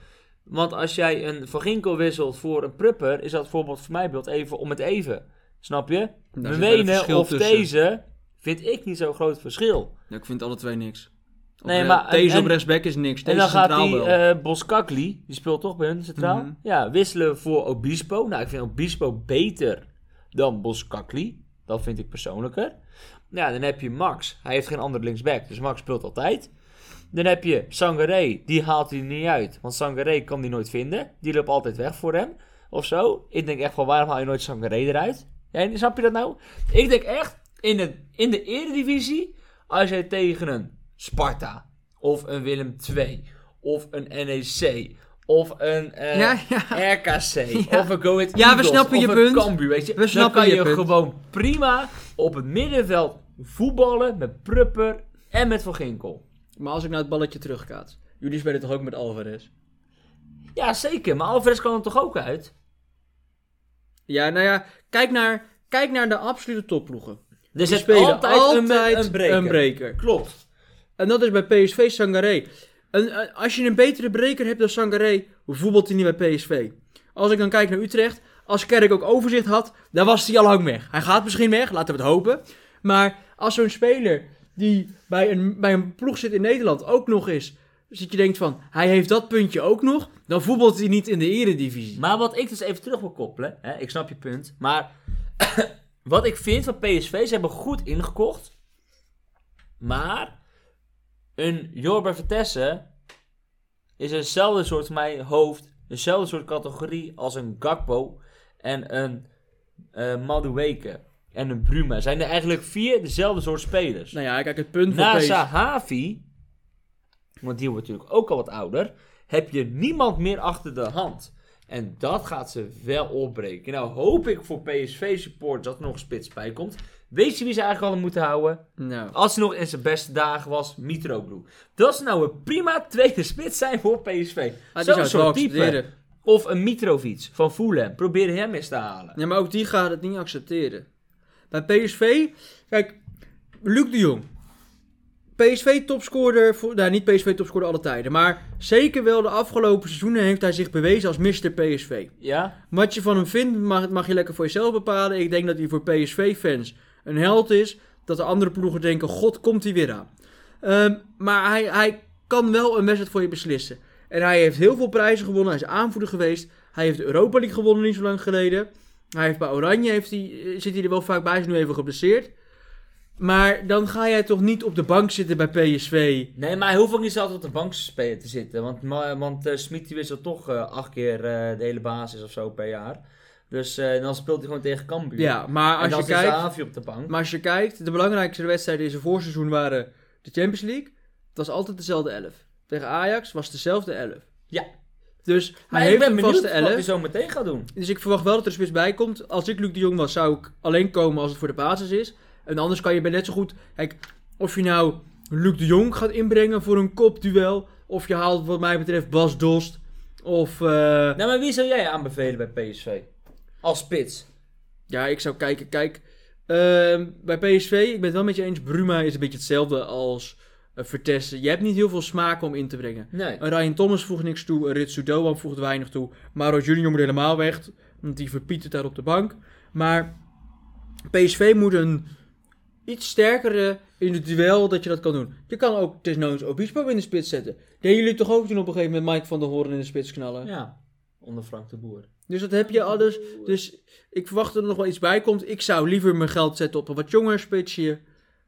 Want als jij een Van Ginkel wisselt voor een Prupper, is dat bijvoorbeeld voor mij beeld even om het even. Snap je? wel een Wenen verschil of tussen. deze vind ik niet zo'n groot verschil. ik vind alle twee niks. Nee, Op- maar- deze en- op rechtsback is niks. en Deze dan gaat centraal die wel. eh Boskakli, die speelt toch bij hun centraal, Mhm. ja, wisselen voor Obispo. Nou, ik vind Obispo beter dan Boskakli. Dat vind ik persoonlijker. Ja, dan heb je Max. Hij heeft geen andere linksback, dus Max speelt altijd. Dan heb je Sangaré, die haalt hij niet uit, want Sangaré kan die nooit vinden. Die loopt altijd weg voor hem, of zo. Ik denk echt van, waarom haal je nooit Sangaré eruit? En snap je dat nou? Ik denk echt, in de, in de eredivisie, als jij tegen een Sparta, of een Willem II, of een NEC, of een eh, Ja, ja. RKC, of een Go Ahead Ja, we Eagles, snappen of je een punt. Cambuur, weet je. We snappen Dan kan je je, punt. gewoon prima op het middenveld voetballen met Prupper en met Van Ginkel. Maar als ik naar het balletje terugkaat. Jullie spelen toch ook met Alvarez? Ja, zeker. Maar Alvarez kan er toch ook uit? Ja, nou ja, kijk naar, kijk naar de absolute topploegen. Er Die zit spelen altijd, altijd een, een breker. een breker. Klopt. En dat is bij PSV Sangaré. En, eh, als je een betere breker hebt dan Sangaré, voetbalt hij niet bij PSV. Als ik dan kijk naar Utrecht, als Kerk ook overzicht had, dan was hij al lang weg. Hij gaat misschien weg, laten we het hopen. Maar als zo'n speler die bij een, bij een ploeg zit in Nederland ook nog is, dus dat je denkt van, hij heeft dat puntje ook nog, dan voetbalt hij niet in de eredivisie. Maar wat ik dus even terug wil koppelen, hè, ik snap je punt, maar wat ik vind van PSV, ze hebben goed ingekocht, maar een Jorber Vitesse is eenzelfde soort van mijn hoofd, eenzelfde soort categorie als een Gakpo en een eh Madueke en een Bruma. Zijn er eigenlijk vier dezelfde soort spelers. Nou ja, kijk, het punt van Na PSV... Sahavi, want die wordt natuurlijk ook al wat ouder, heb je niemand meer achter de hand. En dat gaat ze wel opbreken. Nou hoop ik voor PSV-support dat er nog een spits bij komt. Weet je wie ze eigenlijk hadden moeten houden? Nou, Als hij nog in zijn beste dagen was, Mitroglou. Dat zou nou een prima tweede spits zijn voor PSV. ah, die zou Zo'n het wel soort type. accepteren. Of een Mitrovic van Fulham. Probeer hem eens te halen. Ja, maar ook die gaat het niet accepteren. Bij PSV, kijk, Luc de Jong. PSV topscorer, voor- nou niet PSV topscorer alle tijden, maar zeker wel de afgelopen seizoenen heeft hij zich bewezen als Mr. PSV. Ja? Wat je van hem vindt, mag, mag je lekker voor jezelf bepalen. Ik denk dat hij voor PSV-fans een held is. Dat de andere ploegen denken, god, komt hij weer aan. Ehm, maar hij, hij kan wel een wedstrijd voor je beslissen. En hij heeft heel veel prijzen gewonnen. Hij is aanvoerder geweest. Hij heeft de Europa League gewonnen niet zo lang geleden. Hij heeft bij Oranje heeft hij, eh, zit hij er wel vaak bij. Hij is nu even geblesseerd. Maar dan ga jij toch niet op de bank zitten bij PSV. Nee, maar hij hoeft ook niet altijd op de bank te spelen te zitten. Want, ma- want eh, Smit die wisselt toch eh, acht keer eh, de hele basis of zo per jaar. Dus eh, dan speelt hij gewoon tegen Cambuur. Ja, maar en als dan je zit kijkt. Savi op de bank. Maar als je kijkt, de belangrijkste wedstrijden in zijn voorseizoen waren de Champions League. Het was altijd dezelfde elf. Tegen Ajax was dezelfde elf. Ja. Dus hij Maar ik heeft ben een benieuwd vaste wat hij elf. zo meteen gaat doen. Dus ik verwacht wel dat er spits bij komt. Als ik Luc de Jong was, zou ik alleen komen als het voor de basis is. En anders kan je bij net zo goed... Kijk, of je nou Luc de Jong gaat inbrengen voor een kopduel... of je haalt wat mij betreft Bas Dost... of... eh, Nou, maar wie zou jij aanbevelen bij PSV? Als spits. Ja, ik zou kijken. Kijk, ehm, bij PSV, ik ben het wel met je eens. Bruma is een beetje hetzelfde als eh, Vertessen. Je hebt niet heel veel smaak om in te brengen. Nee. Een Ryan Thomas voegt niks toe. een Ritsu Doan voegt weinig toe. Maro Junior moet helemaal weg. Want die verpietert daar op de bank. Maar PSV moet een iets sterkere individueel dat je dat kan doen. Je kan ook desnoods Obispo in de spits zetten. Deden jullie toch ook toen op een gegeven moment Mike van der Hoorn in de spits knallen? Ja, onder Frank de Boer. Dus dat heb je alles. Dus ik verwacht dat er nog wel iets bij komt. Ik zou liever mijn geld zetten op een wat jonger spitsje.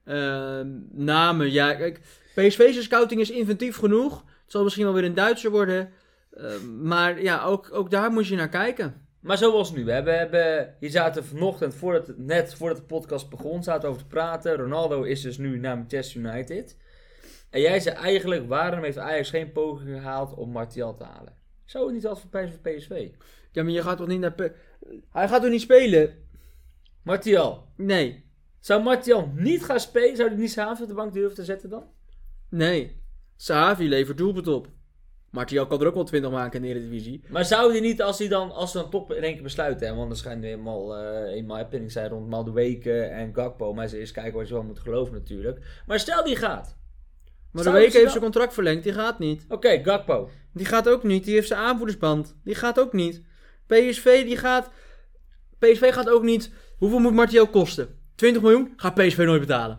Ehm, namen, ja. Kijk, PSV's scouting is inventief genoeg. Het zal misschien wel weer een Duitser worden. Ehm, maar ja, ook, ook daar moet je naar kijken. Maar zoals nu, hè, we hebben, hier zaten vanochtend, voordat, het- net voordat de podcast begon, zaten we over te praten. Ronaldo is dus nu naar Manchester United. En jij zei eigenlijk, waarom heeft Ajax geen poging gehaald om Martial te halen? Zou het niet altijd voor prijs voor PSV? Ja, maar je gaat toch niet naar... P- Hij gaat toch niet spelen? Martial. Nee. Zou Martial niet gaan spelen? Zou hij niet Savi op de bank durven te zetten dan? Nee. Sahavi levert doelpunt op. Martial kan er ook wel 20 maken in de Eredivisie. Maar zou hij niet, als hij dan, als ze dan top in één keer besluiten, hè, want er schijnt nu eenmaal, eh eenmaal happening zijn rond Madueke en Gakpo, maar ze eerst kijken wat je wel moet geloven natuurlijk. Maar stel die gaat. Maar de Zou week ze heeft wel- zijn contract verlengd. Die gaat niet. Oké, Gakpo. Die gaat ook niet. Die heeft zijn aanvoerdersband. Die gaat ook niet. PSV die gaat. PSV gaat ook niet. Hoeveel moet Martial kosten? 20 miljoen? Gaat PSV nooit betalen.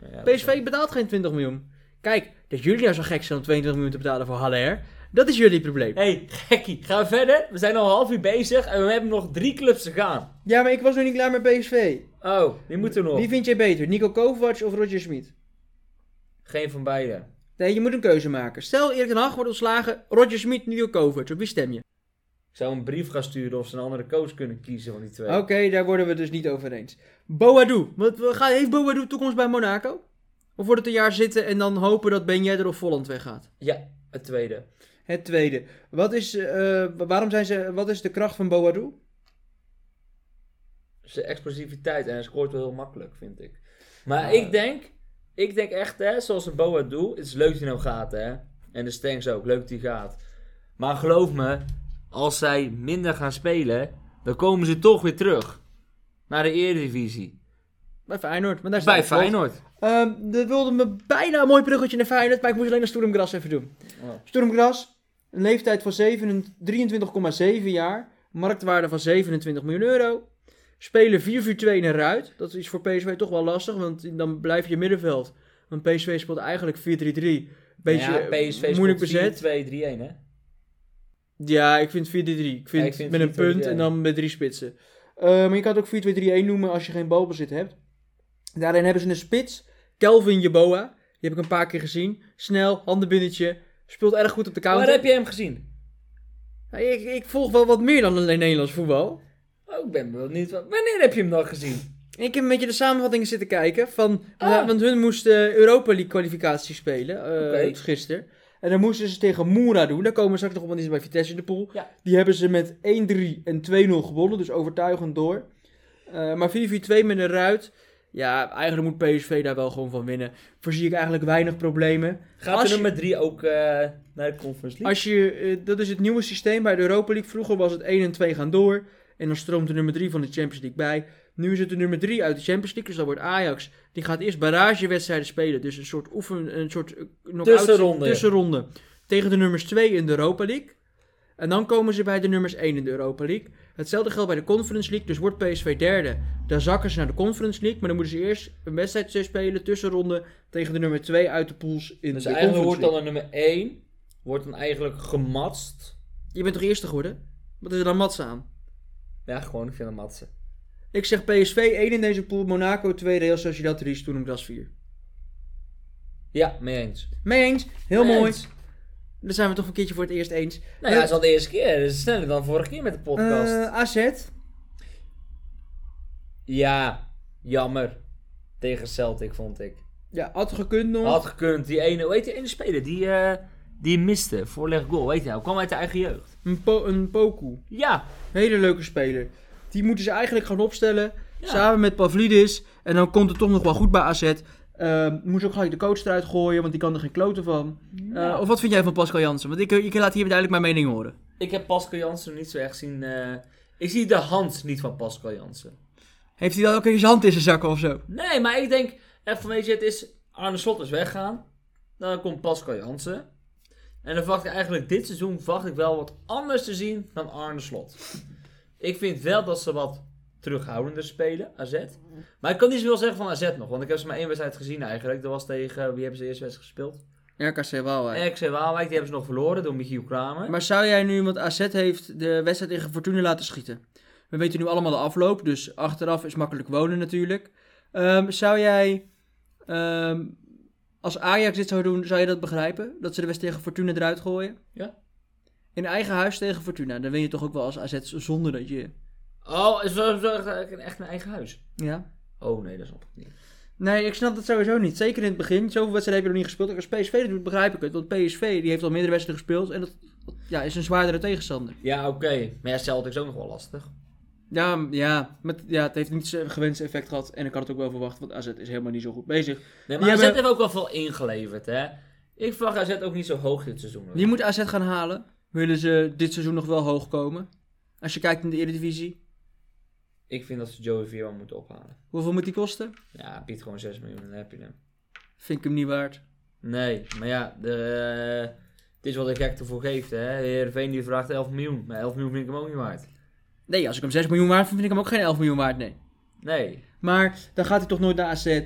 Nou ja, dat is wel- PSV betaalt geen 20 miljoen. Kijk, dat jullie nou zo gek zijn om 22 miljoen te betalen voor Haller, dat is jullie probleem. hey, gekkie, gaan we verder? We zijn al een half uur bezig en we hebben nog drie clubs te gaan. Ja, maar ik was nog niet klaar met PSV. Oh, die moeten nog. Wie vind jij beter, Nico Kovac of Roger Smit? Geen van beiden. Nee, je moet een keuze maken. Stel Erik ten Hag wordt ontslagen, Roger Smit, Nico Kovac. Op wie stem je? Ik zou een brief gaan sturen of ze een andere coach kunnen kiezen van die twee. Oké, daar worden we dus niet over eens. Boadu. Wat, we gaan, heeft Boadu toekomst bij Monaco? Of wordt het een jaar zitten en dan hopen dat Ben Yedder of Volland weggaat? Ja, het tweede. Het tweede. Wat is, eh, waarom zijn ze, wat is de kracht van Boadu? Zijn explosiviteit en hij scoort wel heel makkelijk, vind ik. Maar ik denk, ik denk echt, hè, zoals een Boa doet, het is leuk dat hij nou gaat, hè. En de Stengs ook, leuk dat hij gaat. Maar geloof me, als zij minder gaan spelen, dan komen ze toch weer terug naar de Eredivisie. Bij Feyenoord. Maar daar Bij staat het. Feyenoord. Ehm, dat wilde me bijna een mooi bruggetje naar Feyenoord, maar ik moest alleen naar Sturm Gras even doen. Ja. Sturm Gras, een leeftijd van 7 23,7 jaar, marktwaarde van 27 miljoen euro. Spelen 4-4-2 in een ruit. Dat is voor PSV toch wel lastig, want dan blijf je middenveld. Want PSV speelt eigenlijk 4-3-3. Beetje ja, PSV moeilijk bezet. speelt 4-2-3-1, hè? Ja, ik vind 4-3-3. Ik vind, ik vind met een 4-2-3-1. punt en dan met drie spitsen. Eh, maar je kan het ook 4-2-3-1 noemen als je geen balbezit hebt. Daarin hebben ze een spits, Kelvin Jeboa. Die heb ik een paar keer gezien. Snel, handenbinnetje. Speelt erg goed op de Waar counter. heb je hem gezien? Nou, Ik, ik volg wel wat meer dan alleen Nederlands voetbal. Oh, ik ben benieuwd. wat- Wanneer heb je hem dan gezien? Ik heb een beetje de samenvattingen zitten kijken. Van, Ah. want- Want hun moesten Europa League kwalificatie spelen. eh, Oké. Gisteren. En dan moesten ze tegen Moura doen. Daar komen we straks nog op, want die is bij Vitesse in de pool. Ja. Die hebben ze met 1-3 en 2-0 gewonnen. Dus overtuigend door. Eh, maar 4-4-2 met een ruit. Ja, eigenlijk moet PSV daar wel gewoon van winnen. Voorzie ik eigenlijk weinig problemen. Gaat Als de je- nummer 3 ook eh, naar de Conference League? Als je, eh, dat is het nieuwe systeem bij de Europa League. Vroeger was het 1 en 2 gaan door. En dan stroomt de nummer 3 van de Champions League bij. Nu is het de nummer 3 uit de Champions League. Dus dat wordt Ajax. Die gaat eerst barragewedstrijden spelen. Dus een soort oefen, een soort eh, knock-out- Tussenronde. tussenronde. Tegen de nummers 2 in de Europa League. En dan komen ze bij de nummers 1 in de Europa League. Hetzelfde geldt bij de Conference League. Dus wordt PSV derde. Dan zakken ze naar de Conference League. Maar dan moeten ze eerst een wedstrijd spelen. Tussenronde tegen de nummer 2 uit de pools in Dus de eigenlijk Conference wordt dan de nummer 1 wordt dan eigenlijk gematst. Je bent toch eerste geworden? Wat is er dan matsen aan? Ja, gewoon via de matsen. Ik zeg PSV 1 in deze pool, Monaco 2, Real Sociedad 3, Sturm Gras 4. Ja, mee eens. Mee eens, heel Mee Oh, mooi. eens. Daar zijn we toch een keertje voor het eerst eens. Nou ja, dat is al de eerste keer. Dat is sneller dan vorige keer met de podcast. Eh, AZ, Ja, jammer. Tegen Celtic vond ik. ja, had gekund nog. Had gekund. Die ene, hoe heet die ene speler? Die, eh, die miste. Voorleg goal. Weet je nou? Kwam uit de eigen jeugd. Een, po een Poku. Ja. Hele leuke speler. Die moeten ze eigenlijk gaan opstellen. Ja. Samen met Pavlidis. En dan komt het toch nog wel goed bij AZ. Eh, moet ze ook gelijk de coach eruit gooien, want die kan er geen kloten van. Eh, Nou. Of wat vind jij van Pascal Jansen? Want ik, ik laat hier duidelijk mijn mening horen. Ik heb Pascal Jansen niet zo echt zien. eh, ik zie de hand niet van Pascal Jansen. Heeft hij dan ook in zijn hand in zijn zakken of zo? Nee, maar ik denk echt van weet je, het is Arne Slot is weggaan. Dan komt Pascal Jansen. En dan verwacht ik eigenlijk dit seizoen verwacht ik wel wat anders te zien dan Arne Slot. Ik vind wel dat ze wat terughoudender spelen, AZ. Maar ik kan niet zoveel zeggen van AZ nog, want ik heb ze maar één wedstrijd gezien eigenlijk. Dat was tegen, wie hebben ze de eerste wedstrijd gespeeld? RKC wel, RKC Waalwijk, die hebben ze nog verloren door Michiel Kramer. Maar zou jij nu, want AZ heeft de wedstrijd tegen Fortuna laten schieten. We weten nu allemaal de afloop, dus achteraf is makkelijk wonen natuurlijk. Ehm, zou jij, ehm, als Ajax dit zou doen, zou je dat begrijpen? Dat ze de wedstrijd tegen Fortuna eruit gooien? Ja. In eigen huis tegen Fortuna, dan win je toch ook wel als AZ zonder dat je... Oh, is dat echt een eigen huis? Ja. Oh nee, dat snap ik niet. Nee, ik snap dat sowieso niet. Zeker in het begin. Zoveel wedstrijden heb je nog niet gespeeld. Ook als PSV dat doet, begrijp ik het. Want PSV die heeft al meerdere wedstrijden gespeeld. En dat ja, is een zwaardere tegenstander. Ja, oké. Maar ja, Celtic is ook nog wel lastig. Ja, m- ja, met, ja, het heeft niet zijn gewenste effect gehad. En ik had het ook wel verwacht, want AZ is helemaal niet zo goed bezig. Nee, maar Die AZ hebben- heeft ook wel veel ingeleverd, hè. Ik verwacht AZ ook niet zo hoog dit seizoen. Die moet AZ gaan halen. Willen ze dit seizoen nog wel hoog komen? Als je kijkt in de Eredivisie, Ik vind dat ze Joey Vierman moeten ophalen. hoeveel moet die kosten? Ja, biedt gewoon 6 miljoen en dan heb je hem. Vind ik hem niet waard. Nee, maar ja, de, eh, het is wat de gek ervoor geeft, hè. Heerenveen die vraagt 11 miljoen. Maar 11 miljoen vind ik hem ook niet waard. Nee, als ik hem 6 miljoen waard vind, vind ik hem ook geen 11 miljoen waard, nee. Nee. Maar dan gaat hij toch nooit naar AZ.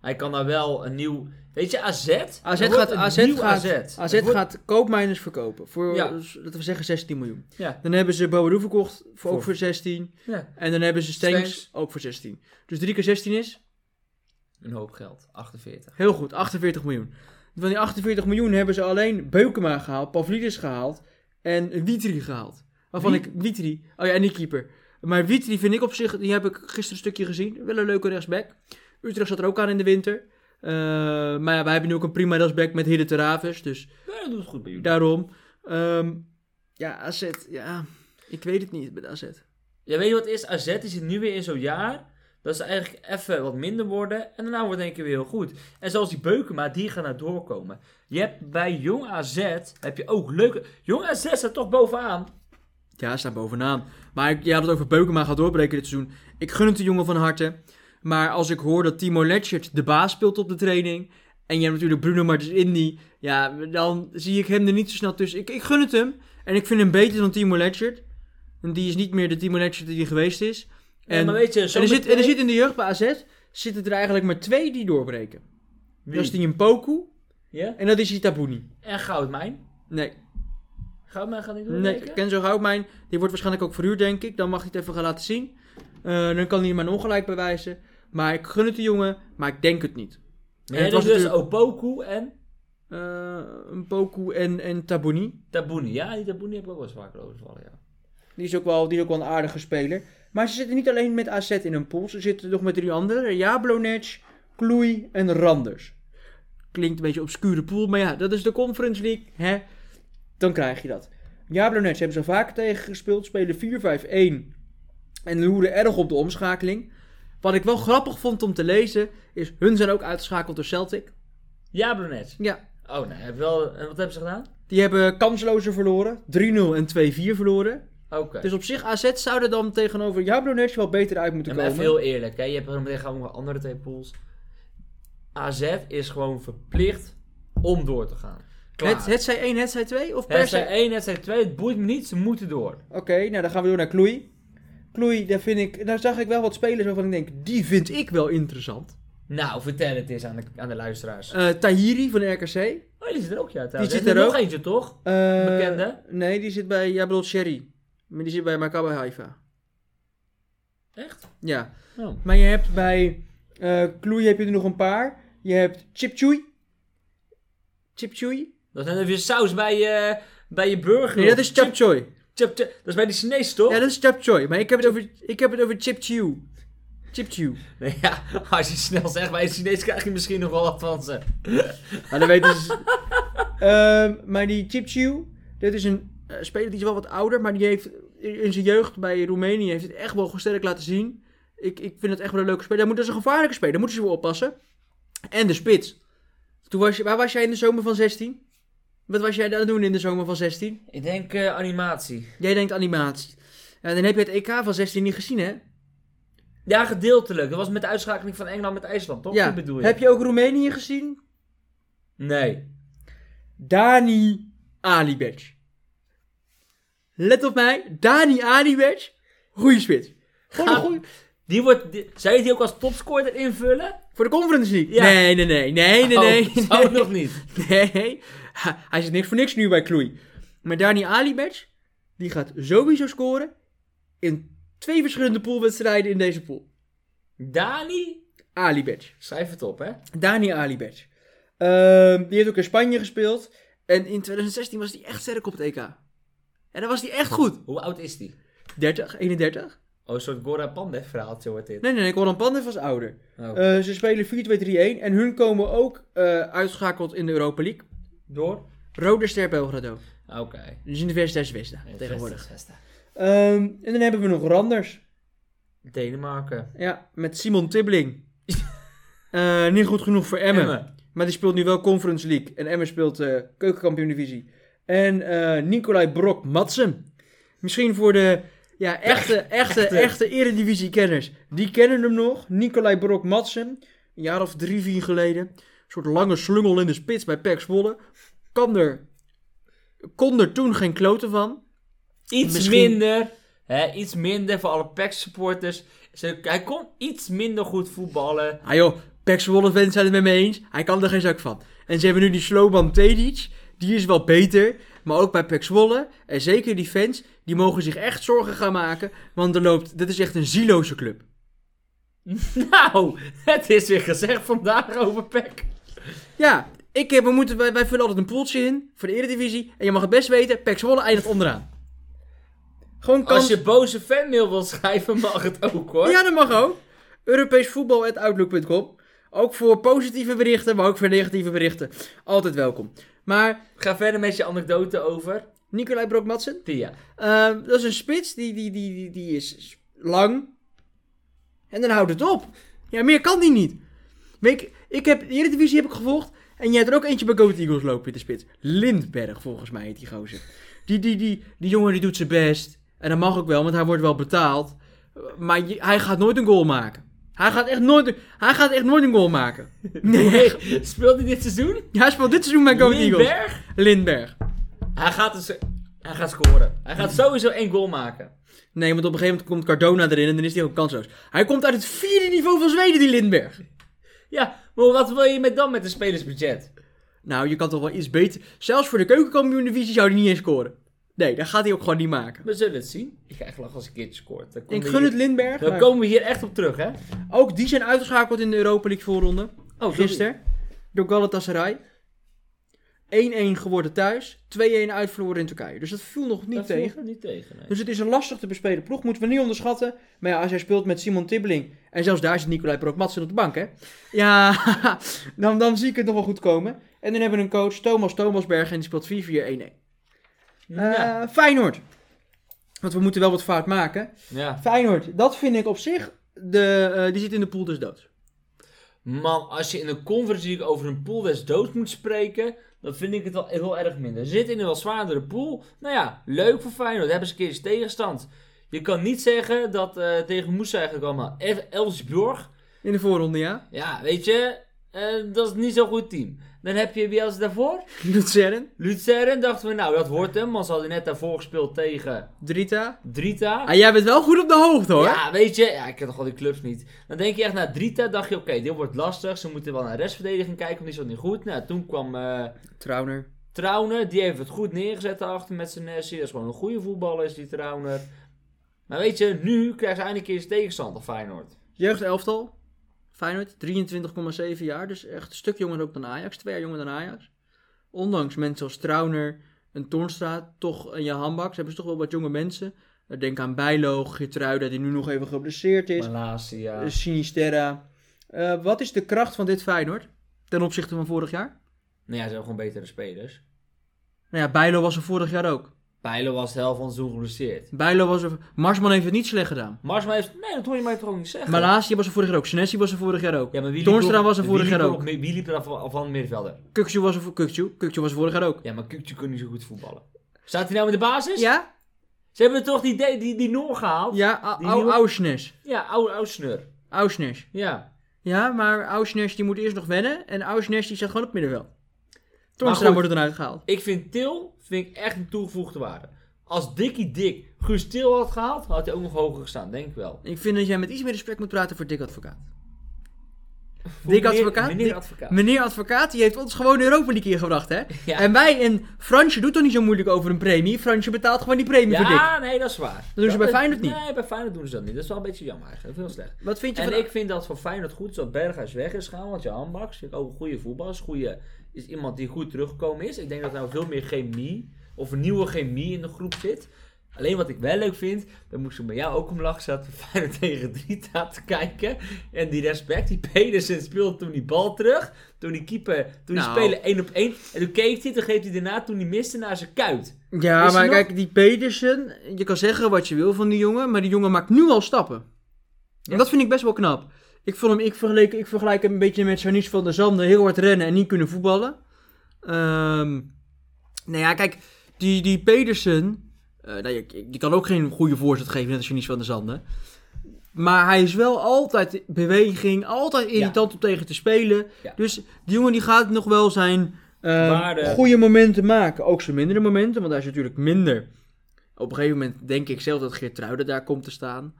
Hij kan daar wel een nieuw... Weet je, AZ? AZ Er wordt gaat, een AZ nieuw gaat, AZ, Er wordt- gaat koopmijners verkopen. Voor, Ja. eh, s- laten we zeggen, 16 miljoen. Ja. Dan hebben ze Boadu verkocht, voor, ook Voor- voor 16. ja, En dan hebben ze Stengs, Stengs. ook voor 16. Dus 3 keer 16 is? een hoop geld. 48. Heel goed, 48 miljoen. Van die 48 miljoen hebben ze alleen Beukema gehaald, Pavlidis gehaald en Witri gehaald. Waarvan Wie? ik Witri, oh ja, en die keeper. Maar Witri vind ik op zich, die heb ik gisteren een stukje gezien, wel een leuke rechtsback. Utrecht zat er ook aan in de winter. Eh, maar ja, wij hebben nu ook een prima rechtsback met Hidde Teravis, dus Ja, dat doet het goed bij jullie. daarom. Ehm, ja, AZ, ja, ik weet het niet met AZ. Ja, weet je wat het is? AZ die zit nu weer in zo'n jaar. Dat ze eigenlijk even wat minder worden. En daarna wordt het in één keer weer heel goed. En zoals die Beukema, die gaan er doorkomen. Je hebt bij Jong AZ, heb je ook leuke... Jong AZ staat toch bovenaan. Ja, hij staat bovenaan. Maar ik, je had het over Beukema gaat doorbreken dit seizoen. Ik gun het de jongen van harte. Maar als ik hoor dat Timo Letchert de baas speelt op de training. En je hebt natuurlijk Bruno Martins Indy. Ja, dan zie ik hem er niet zo snel tussen. Ik, ik gun het hem. En ik vind hem beter dan Timo Letchert. Want die is niet meer de Timo Letchert die hij geweest is. En, En, maar weet je, zo en, er zit, en er zit in de jeugd bij AZ zitten er eigenlijk maar twee die doorbreken. Dat is die in Poku Ja? en dat is die Tabuni. En Goudmijn. Nee, Goudmijn gaat niet doen, Nee, Kenzo Houtmijn, die wordt waarschijnlijk ook verhuurd, denk ik. Dan mag hij het even gaan laten zien. Eh, dan kan hij mijn ongelijk bewijzen. Maar ik gun het de jongen, maar ik denk het niet. Nee, En het dat was is dus natuurlijk- Opoku en Eh, een Poku en, en Tabuni. Tabuni. Ja, die Tabuni heb ik ook wel eens vaker overvallen, ja. Die is, ook wel, die is ook wel een aardige speler. Maar ze zitten niet alleen met AZ in een pool. Ze zitten nog met drie anderen. Jablonec, Kloei en Randers. Klinkt een beetje obscure pool. Maar ja, dat is de Conference League. Hè? Dan krijg je dat. Jablonec hebben ze al vaker tegen gespeeld. Spelen 4-5-1. En loeren erg op de omschakeling. Wat ik wel grappig vond om te lezen. Is hun zijn ook uitgeschakeld door Celtic. Jablonec. Ja. Oh, nee. Heb je wel... En wat hebben ze gedaan? Die hebben kanslozer verloren. 3-0 en 2-4 verloren. Oké. Dus op zich, AZ zou er dan tegenover Jablonec wel beter uit moeten Ja, maar even komen. heel eerlijk, hè? je hebt er meteen gewoon nog andere twee pools. AZ is gewoon verplicht om door te gaan. Klaar. Het, het zij 1, het zij 2? Of per het se? zijn 1, het zijn 2, het boeit me niet, ze moeten door. Oké, nou dan gaan we door naar Kloei. Kloei, daar, vind ik, daar zag ik wel wat spelers waarvan ik denk, die vind ik wel interessant. Nou, vertel het eens aan de, aan de luisteraars. Eh, Tahiri van RKC. Oh Oh, die zit er ook, ja. Trouwens. Eh, Die zit Er er nog ook. eentje, toch? Eh, Bekende? Nee, die zit bij, jij bedoelt Sherry. Maar die zit bij Maccabi Haifa. Echt? Ja. Oh. Maar je hebt bij eh Kloei heb je er nog een paar. Je hebt Chipchoei. Chipchoei? Dat is net even je saus bij je, bij je burger. Nee, dat is Chip- Chapchoy. chip- chip- dat is bij die Chinees, toch? Ja, dat is Chapchoy. Maar ik heb het over, ik heb het over Chipchew. Chipchew. Nee, ja, als je snel zegt bij de Chinees krijg je misschien nog wel wat van ze. Maar dan weten ze... Ehm, maar die Chipchew, dit is een eh, speler die is wel wat ouder, maar die heeft in zijn jeugd bij Roemenië heeft het echt wel sterk laten zien. Ik, ik vind het echt wel een leuke speler. Hij moet- Dat is een gevaarlijke speler, daar moeten ze voor oppassen. En de spits. Toen was je, waar was jij in de zomer van 16? Wat was jij aan het doen in de zomer van 16? Ik denk eh, animatie. Jij denkt animatie. En dan heb je het EK van 16 niet gezien, hè? Ja, gedeeltelijk. Dat was met de uitschakeling van Engeland met IJsland, toch? ja. Dat bedoel je? Heb je ook Roemenië gezien? Nee. Dani Alibec. Let op mij, Dani Alibec. Goeie spits. Gewoon een Ah. goeie- Die wordt, die- zou je die ook als topscorer invullen? Voor de conference niet. Ja. Nee, nee, nee, nee, nee, nee. Oh, zou het nog niet. nee. Ha, Hij zit niks voor niks nu bij Kloei. Maar Dani Alibec, die gaat sowieso scoren in twee verschillende poolwedstrijden in deze pool. Dani? Alibec. Schrijf het op, hè? Dani Alibec. Ehm, die heeft ook in Spanje gespeeld. En in 2016 was hij echt sterk op het EK. En dan was hij echt goed. Hoe oud is die? 30, 31? Oh, een soort Gora Pandev verhaaltje wordt dit. Nee, nee, nee, Goran Pandev was ouder. Oh. Eh, ze spelen 4-2-3-1 en hun komen ook eh uitgeschakeld in de Europa League. Door? Rode Ster Belgrado. Oké. Dus Universiteit Zvezda tegenwoordig. Zestig, zestig. Ehm, en dan hebben we nog Randers. Denemarken. Ja, met Simon Tibbling. Eh, niet goed genoeg voor Emmen. Emmen. Maar die speelt nu wel Conference League. En Emmen speelt eh keukenkampioen divisie. En eh Nicolai Brok Madsen. Misschien voor de ja, echte, echte, echte, eredivisie kenners. Die kennen hem nog. Nicolai Brok Madsen. Een jaar of drie, vier geleden. Een soort lange slungel in de spits bij Pek Zwolle. Kan er, kon er toen geen kloten van. Iets Misschien- minder. Hè, iets minder voor alle PEC supporters. Ze- Hij kon iets minder goed voetballen. Ah joh, Pek Zwolle fans zijn het met me eens. Hij kan er geen zak van. En ze hebben nu die Sloban Tedic. Die is wel beter. Maar ook bij Pek Zwolle. En zeker die fans. Die mogen zich echt zorgen gaan maken. Want er loopt... Dit is echt een zieloze club. Nou, het is weer gezegd vandaag over PEC. Ja, ik heb... We moeten, wij, wij vullen altijd een poeltje in. Voor de Eredivisie. En je mag het best weten. Pek Zwolle eindigt onderaan. Gewoon kans... Als je boze fanmail wil schrijven, mag het ook hoor. Ja, dat mag ook. Europeesvoetbal.outlook.com Ook voor positieve berichten. Maar ook voor negatieve berichten. Altijd welkom. Maar... Ga verder met je anekdote over Nicolai Brok-Matsen. Tia. Ehm, dat is een spits, die, die, die, die, die is lang. En dan houdt het op. Ja, meer kan die niet. Weet ik, ik heb, de Eredivisie heb ik gevolgd. En jij hebt er ook eentje bij Go Ahead Eagles lopen in de spits. Lindberg, volgens mij, heet die gozer. Die, die, die, die jongen die doet zijn best. En dat mag ook wel, want hij wordt wel betaald. Eh, Maar je- hij gaat nooit een goal maken. Hij gaat echt nooit, een- hij gaat echt nooit een goal maken. Nee, Speelt hij dit seizoen? hij speelt dit seizoen bij Go Ahead Eagles. Lindberg? Lindberg. Hij gaat, dus, hij gaat scoren. Hij gaat sowieso één goal maken. Nee, want op een gegeven moment komt Cardona erin en dan is hij ook kansloos. Hij komt uit het vierde niveau van Zweden, die Lindberg. Ja, maar wat wil je met dan met een spelersbudget? Nou, je kan toch wel iets beter. Zelfs voor de keukenkampioen-divisie zou hij niet eens scoren. Nee, dat gaat hij ook gewoon niet maken. We zullen het zien. Ik ga echt lachen als een keertje scoort. Dan komen Ik we gun hier- het Lindberg. Dan maar komen we hier echt op terug, hè? Ook die zijn uitgeschakeld in de Europa League voorronde. Oh, Gisteren. Door Galatasaray. 1-1 geworden thuis. 2-1 uitverloren in Turkije. Dus dat viel nog niet tegen. Niet tegen, nee. Dus het is een lastig te bespelen ploeg, moeten we niet onderschatten. Maar ja, als jij speelt met Simon Tibbeling, en zelfs daar zit Nicolai Brok-Matsen op de bank, hè? Ja, dan, dan zie ik het nog wel goed komen. En dan hebben we een coach, Thomas Thomasberg, en die speelt 4-4-1-1. ja. Eh, Feyenoord. Want we moeten wel wat fout maken. ja. Feyenoord, dat vind ik op zich, de, eh, die zit in de pool dus dood. Man, als je in de Conference League over een pool des doods moet spreken, dan vind ik het wel heel erg minder. Ze zitten in een wel zwaardere pool. Nou ja, leuk voor Feyenoord. Daar hebben ze een keer eens tegenstand. Je kan niet zeggen dat eh, tegen Moes eigenlijk allemaal F- Elfsborg. In de voorronde, ja. Ja, weet je, Eh, dat is niet zo'n goed team. Dan heb je wie als daarvoor? Luzern, Luzern dachten we, nou dat wordt hem. Want ze hadden net daarvoor gespeeld tegen Drita. Drita. Ah, jij bent wel goed op de hoogte hoor. Ja, weet je, ja, ik ken toch al die clubs niet. Dan denk je echt, na Drita dacht je, oké, dit wordt lastig. Ze moeten wel naar restverdediging kijken, want die is al niet goed. Nou, toen kwam eh Trauner. Trauner, die heeft het goed neergezet daarachter met zijn Nessie. Dat is gewoon een goede voetballer, is die Trauner. Maar weet je, nu krijgt ze eindelijk eens tegenstander, Feyenoord. Jeugdelftal. Feyenoord, 23,7 jaar. Dus echt een stuk jonger ook dan Ajax. Twee jaar jonger dan Ajax. Ondanks mensen als Trauner en Tornstra, toch en Jahan Baks, hebben ze toch wel wat jonge mensen. Eh, Denk aan Bijlo, Geertruida, die nu nog even geblesseerd is. Malasia. Eh, Sinisterra. Eh, wat is de kracht van dit Feyenoord ten opzichte van vorig jaar? Nou ja, ze hebben gewoon betere spelers. Nou ja, Bijlo was er vorig jaar ook. Bijlo was de helft van het seizoen geblesseerd. Bijlo was er... Marsman heeft het niet slecht gedaan. Marsma heeft... Nee, dat hoor je mij toch ook niet zeggen? Malasia was er vorig jaar ook. Senesi was er vorig jaar ook. Ja, maar wie liep Toornstra op- was er wie vorig liep jaar op- ook. Wie liep er af af van de middenvelder? Kukcu was er, vo- Kukcu, Kukcu was er vorig jaar ook. Ja, maar Kukje kon niet zo goed voetballen. Staat hij nou in de basis? Ja? Ze hebben toch die, die, die, die Noor gehaald? Ja, Au- Die Au- nieuwe- Auschnes. Ja, oude oude sneur. Auschnes. Ja. Ja, maar Auschnes die moet eerst nog wennen. En Auschnes die zat gewoon op het middenveld. Maar Toornstra goed. wordt er dan uitgehaald. Ik vind Til vind ik echt een toegevoegde waarde. Als Dikkie Dik Guus Til had gehaald, had hij ook nog hoger gestaan, denk ik wel. Ik vind dat jij met iets meer respect moet praten voor Dick Advocaat. Voor Dick meneer- Advocaat? Meneer Dick- advocaat. Meneer Advocaat, die heeft ons gewoon de Europa League ingebracht, hè? Ja. En wij en Fransje doet toch niet zo moeilijk over een premie. Fransje betaalt gewoon die premie voor Dick. Ja, nee, dat is waar. Dat doen ze bij is- Feyenoord niet. Nee, bij Feyenoord doen ze dat niet. Dat is wel een beetje jammer eigenlijk. Dat vind ik heel slecht. Wat vind je En van... ik vind dat voor Feyenoord goed is dat Berghuis weg is gegaan. Want Johan Baks vind ik ook een goede voetballer. Is, goede, is iemand die goed teruggekomen is. Ik denk dat er nou veel meer chemie of een nieuwe chemie in de groep zit. Alleen wat ik wel leuk vind, daar moest ik bij jou ook om lachen, zat Feyenoord tegen Drita te kijken. En die respect, die Pedersen speelde toen die bal terug. Toen die keeper, toen die Nou. spelen één op één. En toen keek hij, toen geeft hij daarna, toen hij miste, naar zijn kuit. Ja, Is hij maar nog- kijk, die Petersen, je kan zeggen wat je wil van die jongen, maar die jongen maakt nu al stappen. Ja. En dat vind ik best wel knap. Ik, vond hem, ik, vergelijk, ik vergelijk hem een beetje met Janis van der Zanden, heel hard rennen en niet kunnen voetballen. Ehm, nou ja, kijk, die, die Pedersen, eh, nou, je- die kan ook geen goede voorzet geven, net als Janis van der Zanden. Maar hij is wel altijd in beweging, altijd irritant om tegen te spelen. Ja. Dus die jongen die gaat nog wel zijn eh, Waarde. goede momenten maken. Ook zijn mindere momenten, want hij is natuurlijk minder. Op een gegeven moment denk ik zelf dat Geertruiden daar komt te staan.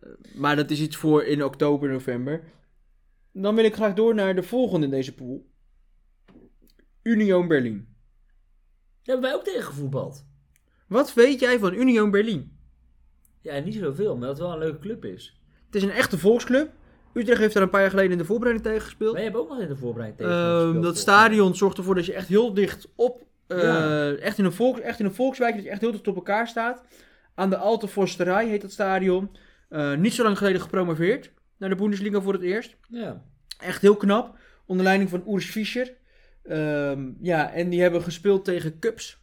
Eh, Maar dat is iets voor in oktober, november. Dan wil ik graag door naar de volgende in deze pool. Union Berlin. Daar hebben wij ook tegen gevoetbald. Wat weet jij van Union Berlin? Ja, niet zoveel, maar dat het wel een leuke club is. Het is een echte volksclub. Utrecht heeft daar een paar jaar geleden in de voorbereiding tegen gespeeld. Wij hebben ook nog in de voorbereiding tegen Ehm, gespeeld, volgens dat mij. stadion zorgt ervoor dat je echt heel dicht op, eh, Ja. echt, in een volks, echt in een volkswijk, dat je echt heel dicht op elkaar staat. Aan de Alte Forsterij heet dat stadion. Eh, niet zo lang geleden gepromoveerd naar de Bundesliga voor het eerst. Ja. Echt heel knap, onder leiding van Urs Fischer. Ehm, ja, en die hebben gespeeld tegen Cubs.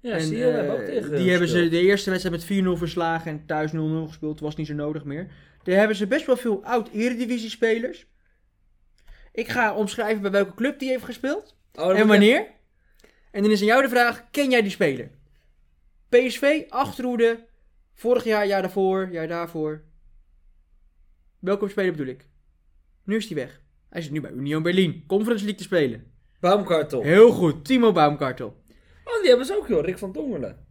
Ja, en, zie je, eh, we hebben ook tegen die hebben ze de eerste wedstrijd met 4-0 verslagen en thuis 0-0 gespeeld. Was niet zo nodig meer. Daar hebben ze best wel veel oud-eredivisie-spelers. Ik ga omschrijven bij welke club die heeft gespeeld. Oh, En wanneer? En dan is aan jou de vraag, ken jij die speler? PSV, Achterhoede, vorig jaar, jaar daarvoor, jaar daarvoor. Welke speler bedoel ik? Nu is hij weg. Hij zit nu bij Union Berlin, Conference League te spelen. Baumkartel. Heel goed, Timo Baumkartel. Oh, die hebben ze ook, joh. Rick van Tongelen.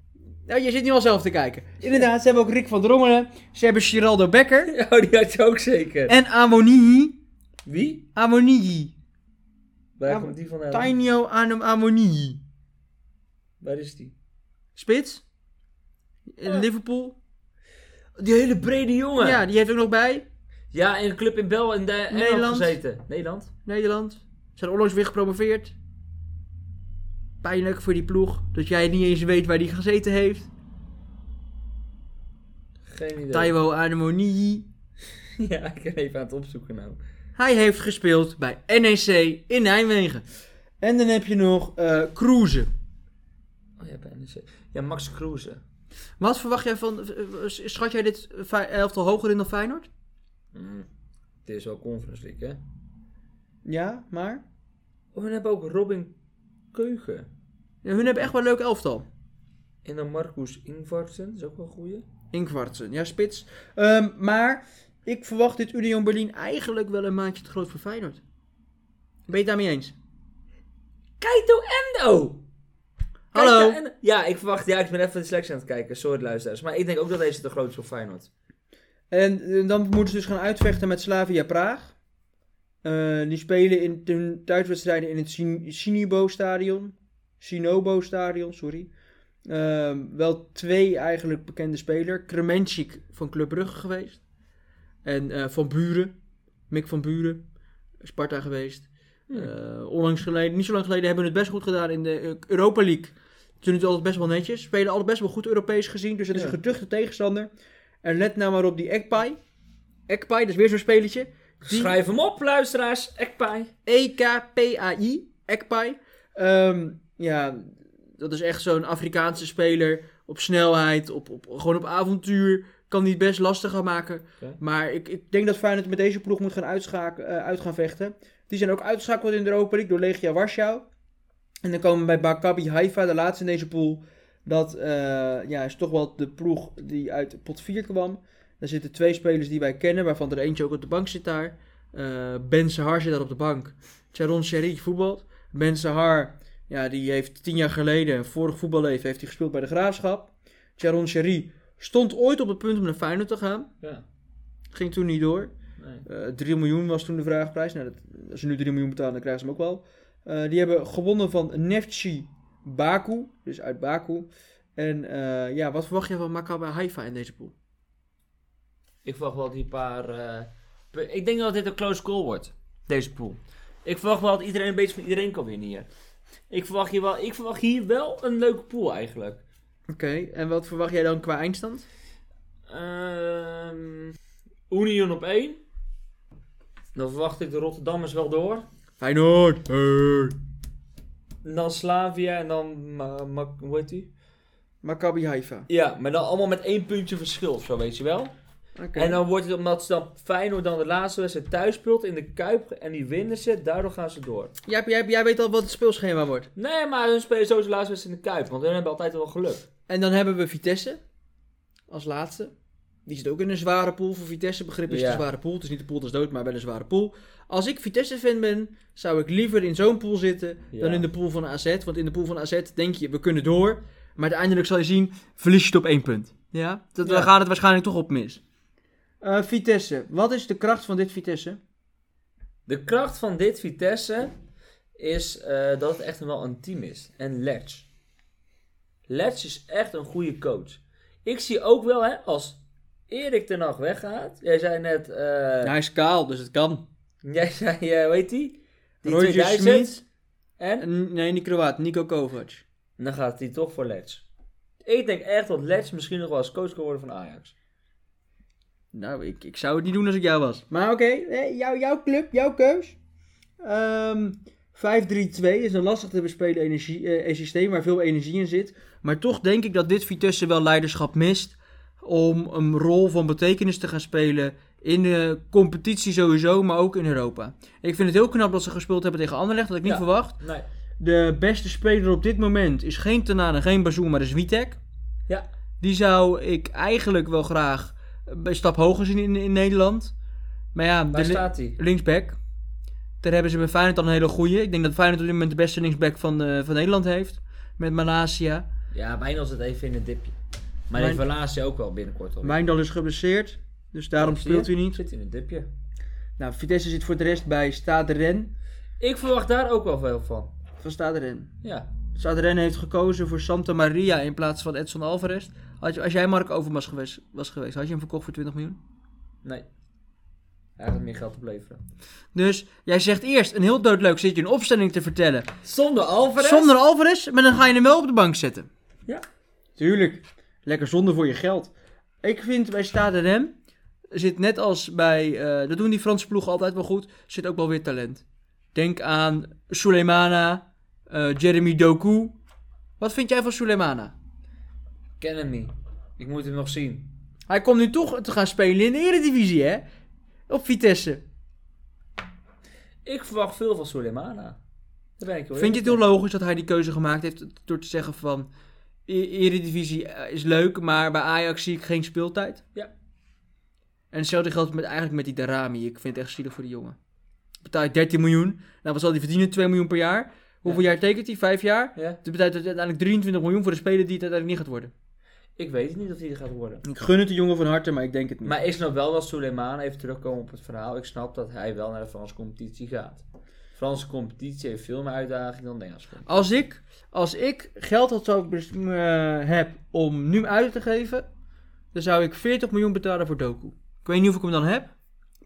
Nou, je zit nu al zelf te kijken. Inderdaad, ze hebben ook Rick van Drongelen, ze hebben Giraldo Becker Ja, die had je ook zeker. en Amoniyi. Wie? Amoniyi. Waar Ja, komt die vandaan? Tainio Anom Amoniyi. Waar is die? Spits? In Liverpool? Die hele brede jongen. Ja, Ja, die heeft ook nog bij. in een club in Bel in de Engeland Nederland. gezeten. Nederland. Nederland. Zijn onlangs weer gepromoveerd. Pijnlijk voor die ploeg. Dat jij niet eens weet waar die gezeten heeft. Geen idee. Taiwo Anemoni. Ja, ik ben even aan het opzoeken nou. Hij heeft gespeeld bij NEC in Nijmegen. En dan heb je nog eh Kroeze. Oh ja, bij NEC. Ja, Max Kruse. Wat verwacht jij van... eh, eh, Schat jij dit fi- elftal hoger in dan Feyenoord? Mm. Dit is wel Conference League, hè? Ja, maar... Oh, en we hebben ook Robin Keugen. Ja, hun hebben echt wel een leuk elftal. En dan Marcus Ingvartsen. Dat is ook wel een goeie. Inkwartsen, ja spits. Ehm, maar ik verwacht dit Union Berlin eigenlijk wel een maandje te groot voor Feyenoord. Ben je het daarmee eens? Kaito Endo! Hallo. Kaito Endo. Ja, ik verwacht... Ja, ik ben even de selectie aan het kijken. Sorry, luisteraars. Maar ik denk ook dat deze de grootste voor Feyenoord. En eh, dan moeten ze dus gaan uitvechten met Slavia Praag. Eh, die spelen in hun thuiswedstrijden in het Sin- Sinibo-stadion. Sinobo-stadion, sorry. Eh, wel twee eigenlijk bekende spelers. Kremenchik van Club Brugge geweest. En eh, Van Buren. Mick van Buren. Sparta geweest. Hmm. Eh, onlangs geleden, niet zo lang geleden, hebben we het best goed gedaan in de eh, Europa League. Toen het altijd best wel netjes. Spelen alle best wel goed Europees gezien. Dus het is Ja. een geduchte tegenstander. En let nou maar op die Ekpai. Ekpai, dat is weer zo'n spelletje. Die- Schrijf hem op, luisteraars. Ekpai. E EKPAI, Ekpai. Ehm, ja, dat is echt zo'n Afrikaanse speler. Op snelheid, op, op, gewoon op avontuur. Kan die het best lastig gaan maken. Oké. Maar ik, ik denk dat Feyenoord met deze ploeg moet gaan uitschaken, eh, uit gaan vechten. Die zijn ook uitgeschakeld in de Europa League door Legia Warschau. En dan komen we bij Maccabi Haifa, de laatste in deze pool. Dat eh, ja, is toch wel de ploeg die uit pot 4 kwam. Daar zitten twee spelers die wij kennen, waarvan er eentje ook op de bank zit daar. Eh, ben Sahar zit daar op de bank. Sharon Sherry voetbalt. Ben Sahar, ja, die heeft tien jaar geleden, vorig voetballeven, heeft hij gespeeld bij de Graafschap. Sharon Sherry stond ooit op het punt om naar Feyenoord te gaan. Ja. Ging toen niet door. Nee. Eh 3 miljoen was toen de vraagprijs. Nou, dat, als ze nu 3 miljoen betalen, dan krijgen ze hem ook wel. Eh, die hebben gewonnen van Neftchi Baku, dus uit Baku. En eh, ja, wat verwacht je van Maccabi Haifa in deze pool? Ik verwacht wel die paar... eh, pu- ik denk dat dit een close call wordt. Deze pool. Ik verwacht wel dat iedereen een beetje van iedereen kan winnen hier. Ik verwacht hier wel, ik verwacht hier wel een leuke pool eigenlijk. Oké, en wat verwacht jij dan qua eindstand? Ehm Union op 1. Dan verwacht ik de Rotterdammers wel door. Feyenoord! Hey. En dan Slavia en dan... Ma- Ma- hoe heet die? Maccabi Haifa. Ja, maar dan allemaal met één puntje verschil, of zo weet je wel. Oké. En dan wordt het omdat ze dan Feyenoord dan de laatste wedstrijd thuis speelt in de Kuip en die winnen ze, daardoor gaan ze door. Jij, jij, jij weet al wat het speelschema wordt. Nee, maar hun spelen sowieso de laatste wedstrijd in de Kuip, want hun hebben altijd wel geluk. En dan hebben we Vitesse als laatste. Die zit ook in een zware pool. Voor Vitesse begrip is het Ja. een zware pool. Het is niet de pool dat is dood, maar wel een zware pool. Als ik Vitesse-fan ben, zou ik liever in zo'n pool zitten Ja. dan in de pool van AZ. Want in de pool van AZ denk je, we kunnen door. Maar uiteindelijk zal je zien, verlies je het op één punt. Ja, dat, Ja. dan gaat het waarschijnlijk toch op mis. Eh, Vitesse, wat is de kracht van dit Vitesse? De kracht van dit Vitesse is eh, dat het echt wel een team is. En Letch. Letch is echt een goede coach. Ik zie ook wel, hè, als Erik ten Hag weggaat. Jij zei net, eh, hij is kaal, dus het kan. jij zei, eh, hoe heet die? Die Roger 2000. Smit. En? Nee, niet Kroaat, Nico Kovac. En dan gaat hij toch voor Letch. Ik denk echt dat Letch misschien nog wel eens coach kan worden van Ajax. Nou, ik, ik zou het niet doen als ik jou was. Maar oké, eh, jou, jouw club, jouw keus. Ehm 5-3-2 is een lastig te bespelen energie, eh, eh, systeem waar veel energie in zit. Maar toch denk ik dat dit Vitesse wel leiderschap mist. Om een rol van betekenis te gaan spelen in de competitie sowieso, maar ook in Europa. Ik vind het heel knap dat ze gespeeld hebben tegen Anderlecht, dat had ik niet Ja. verwacht. Nee. De beste speler op dit moment is geen Tanane, geen Bazoum, maar is Witek. Ja. Die zou ik eigenlijk wel graag een stap hoger zien in, in Nederland. Maar ja, Waar de li- staat hij? linksback. Daar hebben ze bij Feyenoord al een hele goeie. Ik denk dat Feyenoord op dit moment de beste linksback van, eh, van Nederland heeft. Met Malasia. Ja, Wijnald zit even in een dipje. Maar Mijn- die Verlaatse ook wel binnenkort. Hoor. Wijndal is geblesseerd. Dus daarom Zie je? speelt hij niet. Zit in een dipje. Nou, Vitesse zit voor de rest bij Stade Ren. Ik verwacht daar ook wel veel van. Van Stade Ren. Ja. Stade Ren heeft gekozen voor Santa Maria in plaats van Edson Alvarez. Had je- als jij Mark Overmars geweest, was geweest, had je hem verkocht voor 20 miljoen? Nee. Hij gaat meer geld opleveren. Dus jij zegt eerst een heel doodleuk zit je een opstelling te vertellen. Zonder Alvarez? Zonder Alvarez, maar dan ga je hem wel op de bank zetten. Ja. Tuurlijk. Lekker zonde voor je geld. Ik vind bij Stade Rem zit net als bij, eh, dat doen die Franse ploegen altijd wel goed, zit ook wel weer talent. Denk aan Suleimana, eh, Jeremy Doku. Wat vind jij van Suleimana? Ken hem niet. Ik moet hem nog zien. Hij komt nu toch te gaan spelen in de Eredivisie, hè? Op Vitesse. Ik verwacht veel van Soleimana. Daar ben ik wel Vind je het heel eerlijk logisch dat hij die keuze gemaakt heeft door te zeggen van... "E- Eredivisie eh, is leuk, maar bij Ajax zie ik geen speeltijd? Ja. En hetzelfde geldt met, eigenlijk met die Darami. Ik vind het echt zielig voor die jongen. betaal je 13 miljoen. Nou, wat zal hij verdienen? 2 miljoen per jaar. Hoeveel jaar tekent hij? 5 jaar. Ja? Toen betaalt hij uiteindelijk 23 miljoen voor de speler die het uiteindelijk niet gaat worden. Ik weet het niet of die er gaat worden. Ik gun het de jongen van harte, maar ik denk het niet. Maar ik snap wel dat Suleiman, even terugkomen op het verhaal, ik snap dat hij wel naar de Franse competitie gaat. De Franse competitie heeft veel meer uitdaging dan de Engelse competitie. Als ik, als ik geld had zou ik bes- eh, heb om nu uit te geven, dan zou ik 40 miljoen betalen voor Doku. Ik weet niet of ik hem dan heb, maar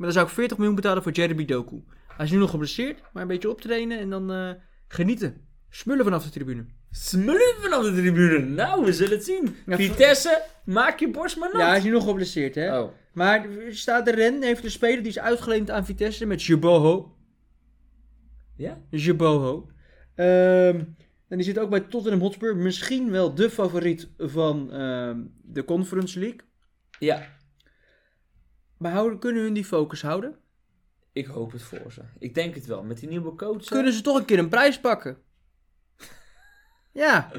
dan zou ik 40 miljoen betalen voor Jeremy Doku. Hij is nu nog geblesseerd, maar een beetje optrainen en dan eh, genieten. Smullen vanaf de tribune. Smullen vanaf de tribune. Nou, we zullen het zien. Ja, Vitesse, maak je borst maar nat. Ja, hij is nu nog geblesseerd, hè? Oh. Maar er staat de Ren heeft een speler die is uitgeleend aan Vitesse met Jeboho. Ja? Jeboho. Ehm, en die zit ook bij Tottenham Hotspur. Misschien wel de favoriet van ehm, de Conference League. Ja. Maar houden, kunnen hun die focus houden? Ik hoop het voor ze. Ik denk het wel. Met die nieuwe coach. Kunnen ze toch een keer een prijs pakken? ja.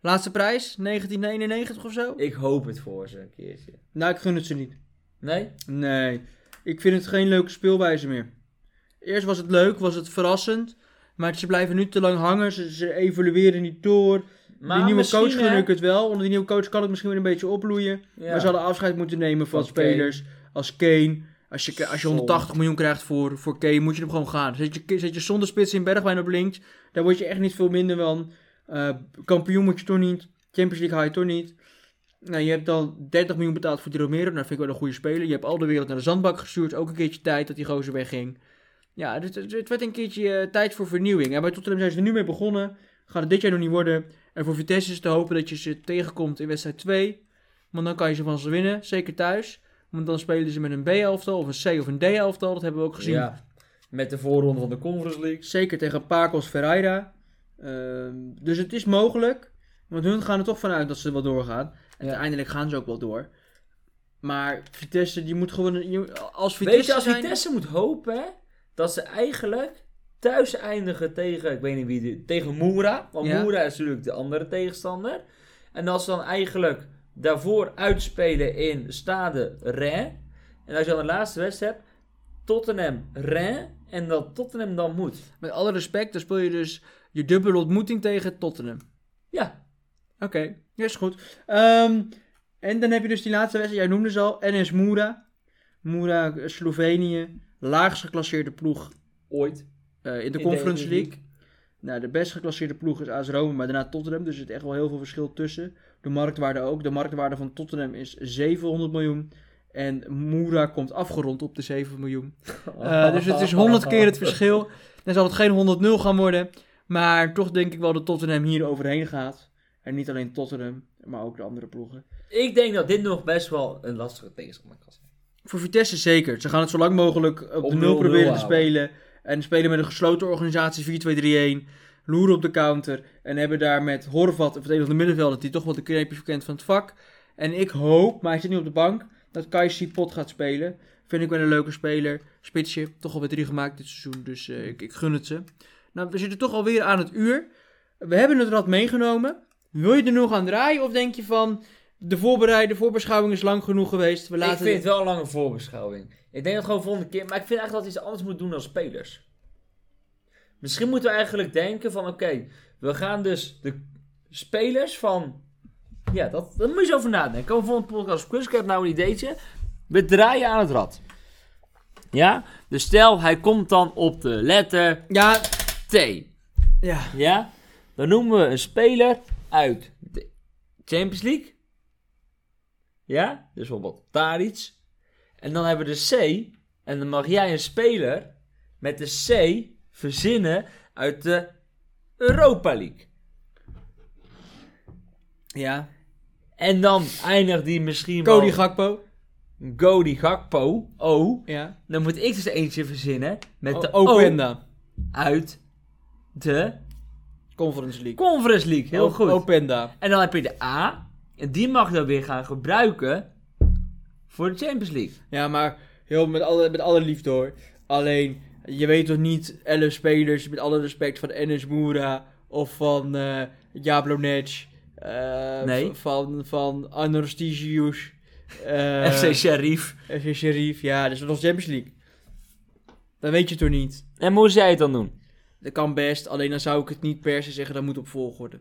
Laatste prijs, 1991 of zo? Ik hoop het voor ze een keertje. Nou, ik gun het ze niet. Nee? Nee, ik vind het geen leuke speelwijze meer. Eerst was het leuk, was het verrassend. Maar ze blijven nu te lang hangen, ze, ze evolueren niet door. Maar die nieuwe misschien, coach gun hè? ik het wel. Onder die nieuwe coach kan het misschien weer een beetje opbloeien. Ja. Maar ze hadden afscheid moeten nemen van Van spelers als Kane. Als je, als je Zonde. 180 miljoen krijgt voor, voor Kane, moet je hem gewoon gaan. Zet je, zet je zonder spits in Bergwijn op links. Daar word je echt niet veel minder van. Eh, kampioen moet je toch niet. Champions League haal je toch niet. Nou, je hebt dan 30 miljoen betaald voor die Romero. Nou, vind ik wel een goede speler. Je hebt al de wereld naar de zandbak gestuurd. Ook een keertje tijd dat die gozer wegging. Ja, dus het, het werd een keertje eh, tijd voor vernieuwing. En bij Tottenham zijn ze er nu mee begonnen. Gaat het dit jaar nog niet worden. En voor Vitesse is te hopen dat je ze tegenkomt in wedstrijd 2. Want dan kan je ze van ze winnen, zeker thuis. Want dan spelen ze met een B-elftal of een C of een D-elftal. Dat hebben we ook gezien. Ja. Met de voorronde van de Conference League. Zeker tegen Pacos Ferreira. Ehm, dus het is mogelijk. Want hun gaan er toch vanuit dat ze wel doorgaan. En Ja. uiteindelijk gaan ze ook wel door. Maar Vitesse, die moet gewoon... je- Als Vitesse Weet je, als zijn- Vitesse moet hopen hè, dat ze eigenlijk thuis eindigen tegen, ik weet niet wie, die- tegen Moera. Want Ja. Moera is natuurlijk de andere tegenstander. En als ze dan eigenlijk daarvoor uitspelen in Stade Rennes. En als je dan de laatste wedstrijd hebt, Tottenham Rennes. En dat Tottenham dan moet. Met alle respect, dan speel je dus je dubbele ontmoeting tegen Tottenham. Ja, Oké, ja, is goed. Ehm, en dan heb je dus die laatste wedstrijd, jij noemde ze al, NS Moura. Moura, eh, Slovenië, laagst geclasseerde ploeg ooit. eh, in de de Conference Eredivisie. League. Nou, de best geclasseerde ploeg is AS Rome, maar daarna Tottenham. Dus er zit echt wel heel veel verschil tussen. De marktwaarde ook. De marktwaarde van Tottenham is 700 miljoen. En Moura komt afgerond op de 7 miljoen. Eh, dus het is 100 keer het verschil. Dan zal het geen 100-0 gaan worden. Maar toch denk ik wel dat Tottenham hier overheen gaat. En niet alleen Tottenham, maar ook de andere ploegen. Ik denk dat dit nog best wel een lastige tegenstander kan zijn. Voor Vitesse zeker. Ze gaan het zo lang mogelijk op, Op de nul 0-0 proberen te houden. spelen. En spelen met een gesloten organisatie 4-2-3-1. Loeren op de counter. En hebben daar met Horvat, of het een van de middenvelders, die toch wel de kneepjes verkent van het vak. En ik hoop, maar hij zit nu op de bank, dat Kai Pot gaat spelen. Vind ik wel een leuke speler. Spitsje, toch alweer drie gemaakt dit seizoen. Dus eh, ik, ik gun het ze. Nou, we zitten toch alweer aan het uur. We hebben het rad meegenomen. Wil je er nog aan draaien? Of denk je van, de voorbereide voorbeschouwing is lang genoeg geweest. We laten Ik vind het wel een lange voorbeschouwing. Ik denk dat gewoon volgende keer. Maar ik vind eigenlijk dat we iets anders moeten doen dan spelers. Misschien moeten we eigenlijk denken van oké, we gaan dus de spelers van. Ja, dat, daar moet je zo over nadenken. Komen we volgende podcast op quiz. Ik heb nou een ideetje. We draaien aan het rad. Ja? Dus stel, hij komt dan op de letter Ja, T. ja. Ja? Dan noemen we een speler uit de Champions League. Ja? Dus bijvoorbeeld Taric. En dan hebben we de C. En dan mag jij een speler met de C verzinnen uit de Europa League. Ja. En dan eindigt die misschien Cody wel... Gakpo. Cody Gakpo. O. Ja. Oh, Dan moet ik dus eentje verzinnen met de De O Openda. uit de Conference League. Conference League. Heel goed. Openda. En dan heb je de A. En die mag je dan weer gaan gebruiken voor de Champions League. Ja, maar heel met alle, met alle liefde hoor. Alleen, je weet toch niet, 11 spelers, met alle respect van Enes Moura of van eh Jablonec. eh, Nee. v- Van, van eh, Anastasius. FC Sheriff. FC Sheriff. Ja, dat is nog Champions League. Dan weet je het toch niet. En moest jij het dan doen? Dat kan best, alleen dan zou ik het niet per se zeggen, dat moet op volgorde.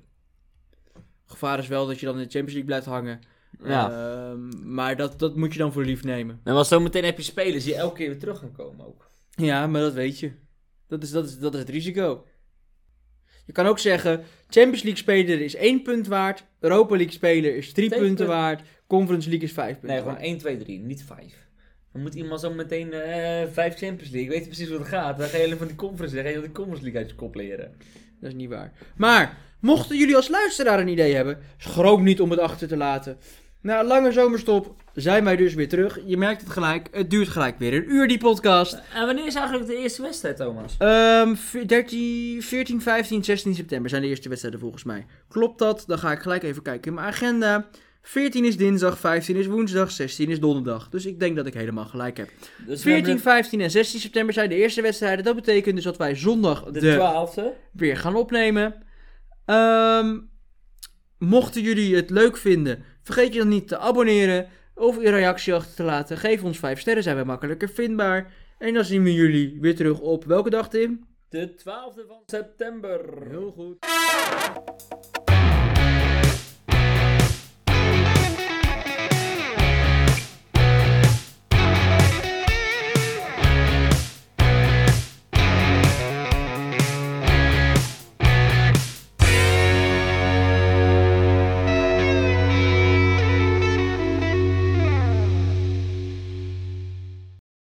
Gevaar is wel dat je dan in de Champions League blijft hangen. Ja. Ehm, maar dat, dat moet je dan voor lief nemen. En want zometeen heb je spelers die elke keer weer terug gaan komen ook. Ja, maar dat weet je. Dat is, dat is, dat is het risico. Je kan ook zeggen, Champions League speler is 1 punt waard, Europa League speler is 3 Twee punten punten. waard, Conference League is 5 punten Nee, gewoon waard. 1, 2, 3, niet 5. Dan moet iemand zo meteen eh 5 Champions League. Weet je precies wat het gaat? Dan ga je alleen van die conference, dan ga je van die conference league uit je kop leren. Dat is niet waar. Maar, mochten jullie als luisteraar een idee hebben, schroom niet om het achter te laten. Na een lange zomerstop zijn wij dus weer terug. Je merkt het gelijk, het duurt gelijk weer een uur die podcast. En wanneer is eigenlijk de eerste wedstrijd, Thomas? Ehm, v- 13, 14, 15, 16 september zijn de eerste wedstrijden volgens mij. Klopt dat? Dan ga ik gelijk even kijken in mijn agenda. 14 is dinsdag, 15 is woensdag, 16 is donderdag. Dus ik denk dat ik helemaal gelijk heb. Dus 14, 15 en 16 september zijn de eerste wedstrijden. Dat betekent dus dat wij zondag de de 12e. weer gaan opnemen. Ehm, mochten jullie het leuk vinden, vergeet je dan niet te abonneren of een reactie achter te laten. Geef ons 5 sterren, zijn we makkelijker vindbaar. En dan zien we jullie weer terug op welke dag, Tim? De 12e van september. goed.